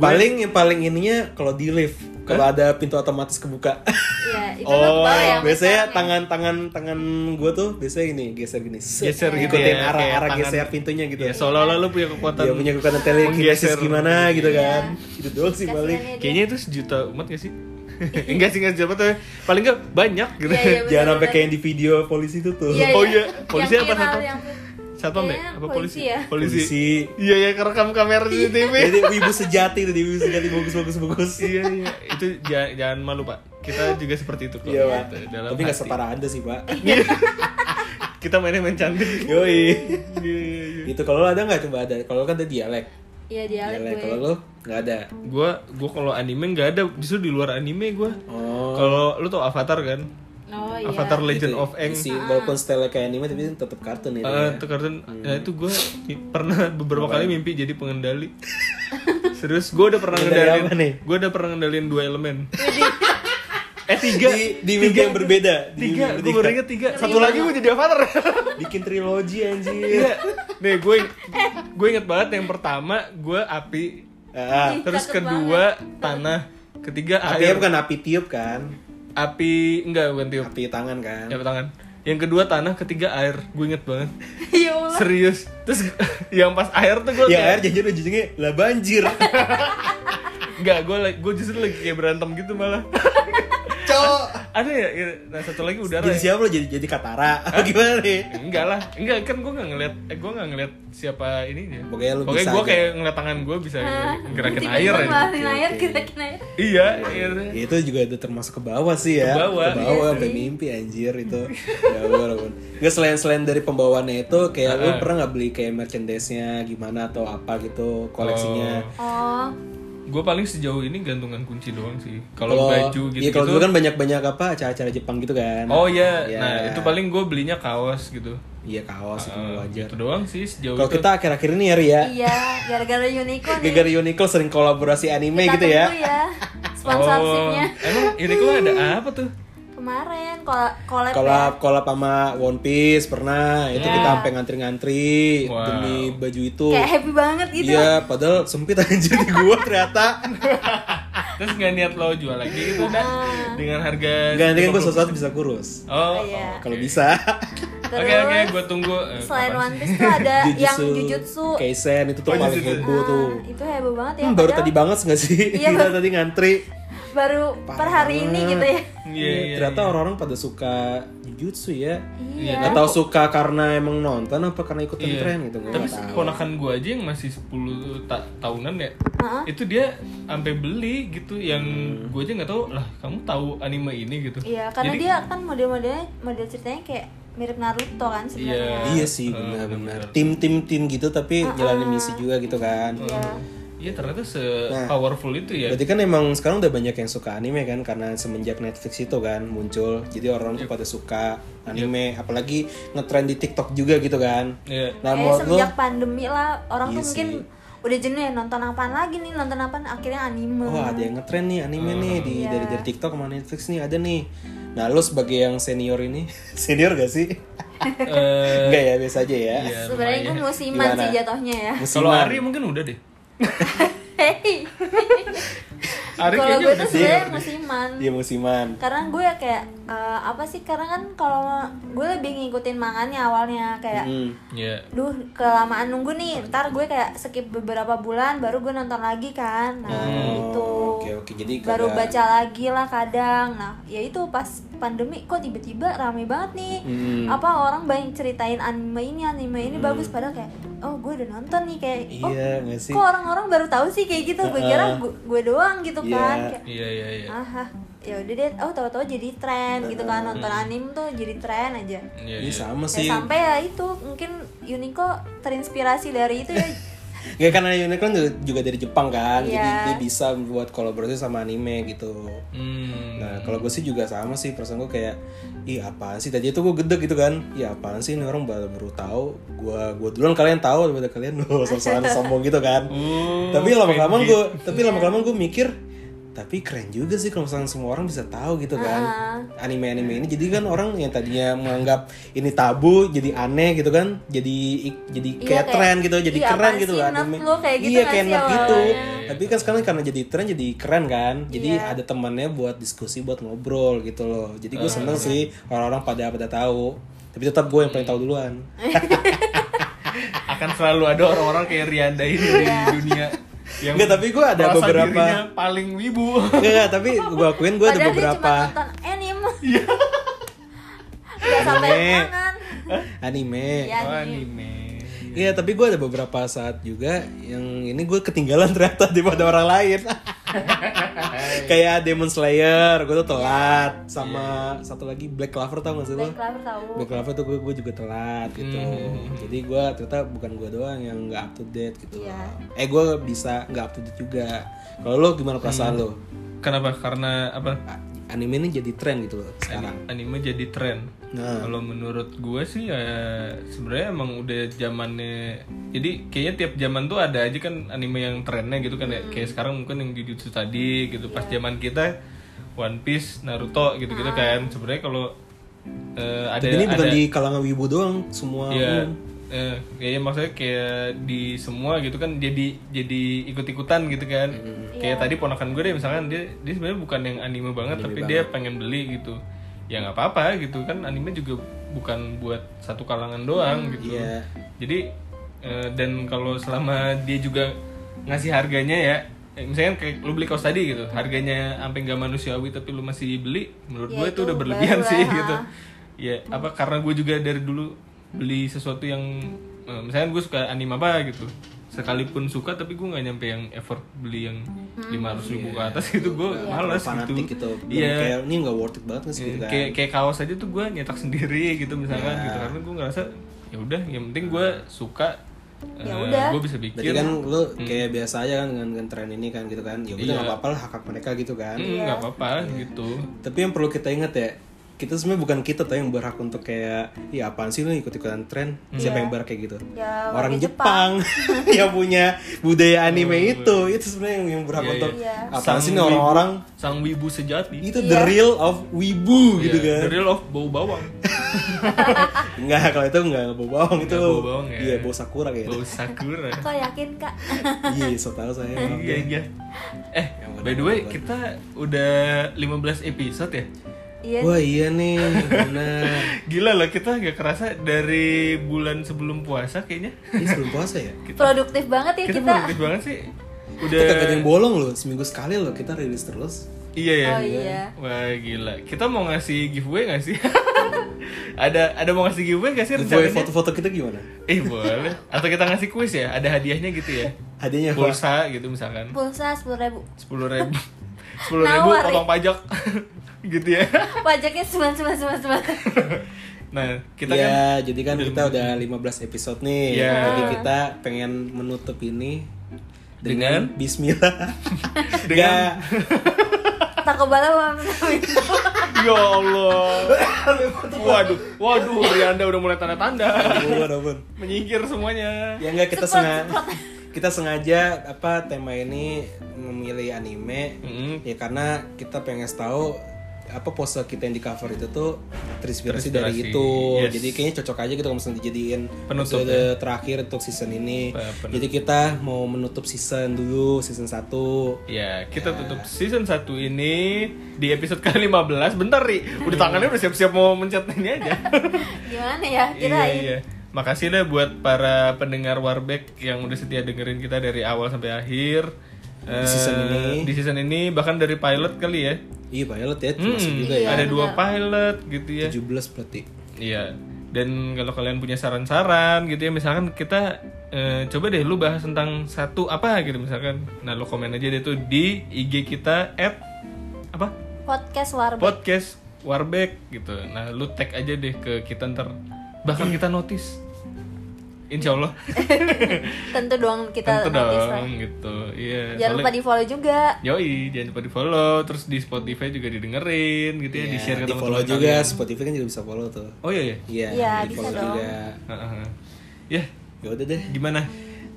C: Paling yang paling ininya kalau di lift, kalau ada pintu otomatis kebuka.
A: segitu. Ya,
C: (laughs)
A: itu lo
B: Oh,
A: kebawa ya.
C: biasanya
A: masalahnya.
C: tangan-tangan tangan gue tuh biasanya gini geser gini set.
B: Geser gitu
C: ikutin
B: ya,
C: arah
B: kayak
C: arah
B: tangan.
C: geser pintunya gitu
B: Ya seolah-olah lo punya kekuatan
C: dia Iya, punya kekuatan telekinesis
B: Menggeser.
C: gimana
A: Iya.
C: gitu kan itu doang sih
A: Kasihannya
C: balik
A: ya dia. Iya,
B: Kayaknya itu sejuta umat gak sih? (laughs) enggak sih, enggak sejuta umat, tapi paling enggak banyak gitu
A: Iya, iya, bener,
C: jangan sampai
A: bener.
C: kayak yang di video polisi itu tuh
A: Iya,
B: Oh,
A: iya.
B: iya. Polisi
A: Yang
B: apa
A: viral,
B: satpam?
A: yang-
B: (laughs) Satpam deh?
A: Kayaknya
B: Apa
A: polisi
B: polisi?
A: ya.
B: Polisi,
C: polisi
B: Iya, ya kerekam kamera CCTV
C: jadi wibu sejati tuh wibu sejati bagus bagus bagus
B: Iya, iya Itu jangan, jangan malu, Pak Kita juga seperti itu kok
C: iya pak
B: Gitu, Dalam
C: tapi nggak
B: hati.
C: separah anda sih pak
B: Iya. (laughs) Kita mainnya main cantik
C: yoi
B: Iya, iya, iya
C: itu kalau lo ada nggak coba ada kalau lo kan ada dialek
A: Iya, dialek
C: dialek
A: gue.
C: kalau lo nggak ada
B: Gue gua kalau anime nggak ada, justru di luar anime gue
C: oh
B: Kalau lu tau Avatar kan?
A: Oh iya.
B: Avatar Legend of Aang
C: Isi, walaupun style kayak anime tapi tetap kartun ya.
B: Eh, itu kartun, nah itu gue pernah beberapa kali mimpi jadi pengendali. (laughs) Serius, gue udah pernah
C: Pengendali
B: ngendalin,
C: apa nih?
B: gue udah pernah ngendalin dua elemen. (laughs) eh tiga,
C: di, di mimpi yang berbeda di
B: tiga, gue
C: mimpi berbeda.
B: baru inget tiga. Satu lagi gue jadi avatar.
A: (laughs)
C: bikin trilogi anjir
B: Iya. Nih gue, gue inget banget yang pertama gue api,
C: ah,
B: terus kedua tanah, ketiga
C: api
B: air,
C: ya bukan api tiup kan
B: api enggak bukan tiup,
C: api tangan kan
B: ya tangan. Yang kedua tanah, ketiga air, gue inget banget.
A: (laughs) Ya Allah.
B: Serius, terus (laughs) yang pas air tuh gue
C: ya air janjian ujungnya lah banjir
B: Enggak, gue gue justru lagi kayak berantem gitu malah. (laughs)
C: cowok
B: Ada ya? ya, Nah satu lagi udara.
C: jadi
B: Ya?
C: siapa lo jadi jadi katara Apa (laughs) gimana nih
B: Enggak lah, enggak kan gue nggak ngeliat, eh, gue nggak ngeliat siapa ininya.
C: Pokoknya lu
B: gue
C: bisa aja.
B: kayak ngeliat tangan gue bisa gerakin
A: Tiba-tiba
B: air aja.
A: ngeluarin air, gerakin air.
B: Iya, iya.
C: Ya, itu juga ada termasuk ke bawah sih ya
B: Ke bawah,
C: ke bawah
A: iya
C: sampai
A: sih.
C: mimpi anjir itu ya walaupun nggak selain selain dari pembawaannya itu kayak lu pernah nggak beli kayak merchandise nya gimana atau apa gitu koleksinya
A: Oh,
B: gue paling sejauh ini gantungan kunci doang sih kalau
C: Kalau
B: baju gitu
C: iya, kalau
B: gitu
C: dulu kan banyak-banyak apa acara-acara Jepang gitu kan.
B: oh iya
C: Iya.
B: nah itu paling gue belinya kaos gitu
C: Iya kaos itu
B: Eh,
C: wajar.
B: gitu doang sih sejauh
C: Kalau
B: itu
C: kita akhir-akhir ini ya Ria,
A: Iya, gara-gara ya. Unico nih.
C: Gegar Uniqlo sering kolaborasi anime
A: Kita
C: gitu ya. Oh.
A: tunggu ya. Sponsorshipnya
B: Oh, emang ini kok
A: (laughs)
B: ada apa tuh
A: kemarin kol- collab ya.
C: Kolab kolab sama One Piece pernah itu kita sampai
B: Iya.
C: ngantri-ngantri
B: Wow.
C: demi baju itu.
A: Kayak happy banget gitu.
C: Iya, padahal sempit anjir di gua (laughs) ternyata.
B: terus nggak niat lo jual lagi gitu dah dengan harga
C: Enggak nanti kan gua
B: 50.
C: suatu saat bisa kurus.
A: Ah. Iya.
B: oh Iya, oke.
C: Kalau bisa.
A: Terus
B: oke oke gue tunggu eh,
A: selain
B: kapan
A: One
B: sih?
A: Piece tuh
C: (laughs)
A: ada yang Jujutsu.
C: Kaisen itu tuh
B: Oh,
C: paling
B: Jujutsu.
C: heboh tuh.
A: Nah, itu heboh banget ya.
C: Hmm, baru
A: padahal
C: tadi banget nggak sih? (laughs)
A: Iya,
C: Gila tadi ngantri.
A: baru per hari ini gitu ya.
B: Iya, iya,
C: ternyata orang-orang pada suka jujutsu ya.
A: Iya.
C: Atau suka karena emang nonton apa karena ikutan
B: Iya.
C: tren gitu gua
B: tapi
C: nggak tahu.
B: ponakan gue aja yang masih 10 ta- tahunan ya
A: Heeh.
B: itu dia sampai beli gitu yang
C: Hmm.
B: gue aja nggak tahu lah kamu tahu anime ini gitu
A: Iya, karena
B: Jadi-
A: dia kan model-modelnya model ceritanya kayak mirip Naruto kan sebenarnya.
C: Iya
B: Oh,
C: sih benar-benar. Tim-tim tim gitu
A: Ah,
C: tapi jalanin misi juga gitu kan.
B: iya ternyata se
C: Nah.
B: powerful itu ya
C: Berarti kan emang sekarang udah banyak yang suka anime kan karena semenjak Netflix itu kan muncul. Jadi orang tuh
B: Iya.
C: pada suka anime, apalagi ngetren di TikTok juga gitu kan.
B: Iya.
A: Kayaknya
C: Nah, menurut lu
A: semenjak pandemi lah orang tuh
C: Iya
A: mungkin udah jenuh ya nonton apaan lagi nih nonton apaan akhirnya anime.
C: Wah Oh, ada yang ngetren nih anime nih di
A: Iya.
C: dari dari TikTok sama Netflix nih ada nih. Nah lu sebagai yang senior ini (laughs) senior gak sih?
B: Eh,
C: Enggak ya biasa aja ya.
B: iya,
A: sebenarnya gue musiman sih jatuhnya ya. (laughs)
B: kalau
C: Musiman.
B: Ari mungkin udah deh
A: Hei,
B: Ari
A: kalau
B: kayaknya
A: gue
B: udah
A: tuh sebenarnya musiman.
C: Iya musiman.
A: Karena gue kayak eh, apa sih? Karena kan kalau gue lebih ngikutin mangannya awalnya kayak
C: Hmm.
B: Iya.
A: duh kelamaan nunggu nih ntar gue kayak skip beberapa bulan baru gue nonton lagi kan nah gitu
C: Hmm. Oh, Oke oke jadi
A: baru
C: kagak-
A: baca lagi lah kadang nah ya itu pas pandemi kok tiba-tiba rame banget nih
C: Hmm.
A: apa orang banyak ceritain anime ini anime ini bagus padahal kayak oh gue udah nonton nih kayak oh
C: Iya nggak sih?
A: kok orang-orang baru tahu sih kayak gitu gue kira gue, gue doang gitu
C: Iya.
A: kan kayak
B: iya iya iya
A: ah ah, ya udah deh oh tahu-tahu jadi tren gitu kan nonton anime tuh jadi tren aja
B: Iya,
C: Ini
B: iya.
C: sama
A: Ya,
C: sih.
A: sampai ya itu mungkin Unico terinspirasi dari itu ya.
C: Nggak karena Unicorn juga- juga dari Jepang kan, jadi
A: Iya.
C: dia bisa buat kolaborasi sama anime gitu.
B: Hmm.
C: Nah, kalau gue sih juga sama sih, perasaan gue kayak, ih apaan sih? Tadi itu gue gede gitu kan, iya apaan sih? Ini orang baru, baru tahu, gue gue duluan kalian tahu daripada kalian loh, sosokan sombong gitu kan.
A: Hmm,
B: Oh,
C: tapi lama-lama gue,
A: gitu.
C: tapi lama-lama gue mikir, tapi keren juga sih kalau misalnya semua orang bisa tahu gitu kan
A: Ah.
C: anime-anime ini jadi kan orang yang tadinya menganggap ini tabu jadi aneh gitu kan jadi jadi kayak,
A: Iya, kayak,
C: tren gitu jadi
A: "Ih,
C: keren
A: apaan
C: gitu
A: sih,
C: loh
A: nerd
C: anime
A: lu?" kayak gitu
C: iya
A: nggak
C: kayak
A: sih
C: nerd gitu
A: awalnya? Iya.
C: tapi kan sekarang karena jadi tren jadi keren kan jadi ada temannya buat diskusi buat ngobrol gitu loh jadi gue seneng sih orang-orang pada pada tahu tapi tetap gue yang paling tahu
A: (laughs)
C: duluan
B: akan selalu ada orang-orang kayak Rianda ini di dunia yang
C: Nggak, tapi gue ada
B: merasa
C: beberapa-
B: dirinya paling wibu.
C: Enggak, enggak, tapi gue akuin gue ada
A: Padahal dia
C: beberapa
A: cuma nonton anime. (laughs) Iya. Gak sampai
C: Anime.
A: tangan.
C: anime
A: Iya
B: Oh,
A: nih.
B: anime.
C: Iya tapi gue ada beberapa saat juga yang ini gue ketinggalan (laughs) ternyata daripada orang lain. Kayak Demon Slayer, gue tuh telat sama satu lagi Black Clover tau gak sih lo?
A: Black Clover tahu.
C: Black Clover tuh gue gue juga telat gitu.
B: Hmm,
C: Jadi gue ternyata bukan gue doang yang nggak up to date gitu.
A: Iya.
C: Eh gue bisa nggak up to date juga. Kalau lo gimana perasaan
B: Hmm.
C: lo?
B: Kenapa? Karena apa?
C: A- Anime ini jadi tren gitu loh sekarang.
B: Anime jadi tren.
C: Nah,
B: Kalau menurut gue sih ya sebenarnya emang udah zamannya. Jadi kayaknya tiap zaman tuh ada aja kan anime yang trennya gitu kan
C: Hmm.
B: ya. Kayak sekarang mungkin yang Jujutsu tadi gitu. Pas zaman kita One Piece, Naruto gitu-gitu kan. Sebenarnya kalau eh, ada
C: Ah. tapi ini bukan
B: ada
C: di kalangan wibu doang, semua
B: Iya.
C: umum.
B: Eh, kayaknya maksudnya kayak di semua gitu kan jadi jadi ikut-ikutan gitu kan. Kayak tadi ponakan gue deh misalkan dia dia sebenarnya bukan yang anime banget tapi dia pengen beli gitu. Ya nggak apa-apa gitu kan anime juga bukan buat satu kalangan doang gitu.
C: Iya.
B: Jadi eh, dan kalau selama dia juga ngasih harganya ya eh, misalkan kayak lu beli kaos tadi gitu harganya sampai nggak manusiawi tapi lu masih beli menurut gue itu udah berlebihan sih gitu ya apa karena gue juga dari dulu beli sesuatu yang eh, misalkan gue suka anime apa gitu sekalipun suka tapi gue nggak nyampe yang effort beli yang lima ribu ke atas gitu gue malas gitu
C: Iya. fanatik gitu.
B: Iya.
C: Kayak ini nggak worth it banget nggak sih gitu kan. Hmm. Iya.
B: kayak kayak kaos aja tuh kan. gue nyetak sendiri gitu misalkan gitu karena gue ngerasa ya udah yang penting gue suka
A: Ya udah.
B: gue bisa bikin
C: Berarti kan lu
B: Hmm.
C: kayak biasa aja kan dengan, dengan tren ini kan gitu kan. Ya udah
B: Iya.
C: nggak apa-apa lah hak hak mereka gitu kan.
B: Hmm,
A: Iya.
B: nggak apa-apa
C: Iya.
B: gitu
C: Tapi yang perlu kita ingat ya, kita sebenarnya bukan kita tuh yang berhak untuk kayak ya apaan sih lu ikut-ikutan tren?
B: Iya.
C: Siapa yang berhak kayak gitu?
A: Ya,
C: Orang Jepang, (laughs) yang punya budaya anime itu, itu sebenarnya yang, yang berhak
B: Oh, Iya,
C: untuk
A: iya.
C: apaan sih nih
B: Sang
C: orang-orang
B: sang wibu sejati
C: itu the real of wibu gitu
B: Iya,
C: kan.
B: the real of bau bawang
A: Ah.
C: Enggak, kalau itu enggak bau bawang itu.
B: bau bawang ya.
C: Iya, bau sakura kayaknya.
B: bau
C: (laughs)
B: sakura
A: Kok yakin kak? (laughs)
C: Iya, so tau saya. maaf
B: (laughs) iya
C: ya.
B: iya eh by the way kita udah 15 episode ya
A: Iya.
C: Wah, iya nih, benar.
B: gila lah kita nggak kerasa dari bulan sebelum puasa kayaknya
C: Ini sebelum puasa ya?
A: Produktif banget ya
B: kita,
A: kita.
B: produktif banget sih udah
C: Kita kagak ada yang bolong loh, seminggu sekali loh kita rilis terus.
B: iya ya
A: Oh iya.
B: wah gila kita mau ngasih giveaway nggak sih (laughs) ada ada mau ngasih giveaway nggak sih
C: Giveaway
B: rencananya?
C: foto-foto kita gimana?
B: eh boleh atau kita ngasih kuis ya ada hadiahnya gitu ya
C: Hadiahnya apa?
B: pulsa gitu misalkan
A: Pulsa sepuluh ribu.
B: sepuluh
A: (laughs)
B: ribu sepuluh ribu
A: Nawar,
B: potong pajak (laughs) gitu ya
A: Pajaknya sembilan sembilan sembilan sembilan.
B: nah kita kan
C: ya, jadi kan kita udah 15 episode nih.
B: Iya.
C: Jadi kita pengen menutup ini dengan,
B: Dengan? (laughs)
C: bismillah.
B: kan Dengan-
C: Iya.
A: Takobala mau minum.
B: Ya Allah. Waduh, waduh, Rianda udah mulai tanda-tanda.
C: Nggak, ampun, ampun.
B: Menyingkir semuanya.
C: Ya enggak kita
A: Cepat,
C: sengaja
A: cepat.
C: kita sengaja apa tema ini memilih anime
B: Mm-mm.
C: ya karena kita pengen tahu apa pose kita yang di cover itu tuh terinspirasi
B: Terinspirasi,
C: dari itu
B: yes.
C: jadi kayaknya cocok aja gitu kalau misalnya dijadiin
B: Penutup,
C: episode terakhir untuk season ini
B: Eh, penutup.
C: jadi kita mau menutup season dulu season 1
B: Ya, kita tutup season 1 ini di episode ke-15. Bentar, Ri. Udah
C: Iya.
B: tangannya udah siap-siap mau mencet ini
C: (laughs)
B: aja.
A: Gimana ya?
B: iya,
A: Kirain.
B: iya. Makasih deh buat para pendengar Warbeck yang udah setia dengerin kita dari awal sampai akhir. Di
C: season ini.
B: Di season ini bahkan dari pilot kali ya.
C: iya pilot ya
B: Hmm,
C: masuk juga ya
B: ada dua pilot gitu ya.
C: 17 berarti
B: Iya. Dan kalau kalian punya saran-saran gitu ya, misalkan kita eh, coba deh lu bahas tentang satu apa gitu misalkan. Nah, lu komen aja deh tuh di IG kita at apa?
A: Podcast warba.
B: Podcast Warbeck gitu. Nah, lu tag aja deh ke kita ntar bakal kita notice. Insya Allah
A: Tentu doang (laughs) kita
B: tentu
A: notice lah.
B: dong gitu. Iya.
A: Jangan lupa
B: soalnya-
A: di follow juga.
B: Yoi, jangan lupa di follow, terus di Spotify juga didengerin gitu ya, di share ke
C: di
B: teman-teman
C: follow Iya, juga Spotify kan juga bisa follow tuh
B: kalian. Oh iya ya.
C: iya
A: Iya,
C: di
A: bisa
C: follow
A: dong.
C: juga
B: Heeh. Ya,
C: ya udah deh
B: gimana?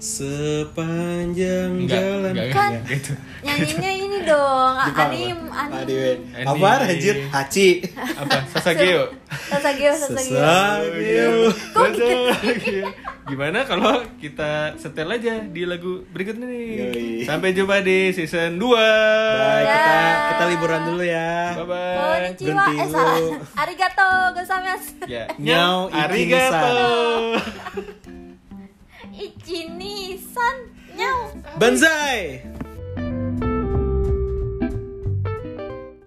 C: sepanjang
B: Enggak,
C: jalan
B: enggak,
C: Kan?
B: enggak, enggak gitu.
A: Nyanyinya ini
B: (laughs)
A: dong.
C: Jepang apa?
A: Ah, Anim, anim. Iya.
C: Anime.
B: Anime.
C: Apa anjir?
A: (laughs)
C: Hachi. (laughs)
B: Apa? Oh, Sasageo.
A: Sasageo, Sasageo.
C: Sasageo.
B: Sasageo. iya. Gimana kalau kita setel aja di lagu berikutnya nih.
C: Yoi.
B: Sampai jumpa di season 2.
C: Bye,
B: Bye.
C: kita kita liburan dulu ya.
B: Bye bye.
A: Konnichiwa.
C: Berhenti
A: Eh, salah.
C: dulu.
A: Arigato gozaimasu.
B: Ya.
C: Nyau
B: arigato.
A: Ichini-san. Nyau.
C: Banzai.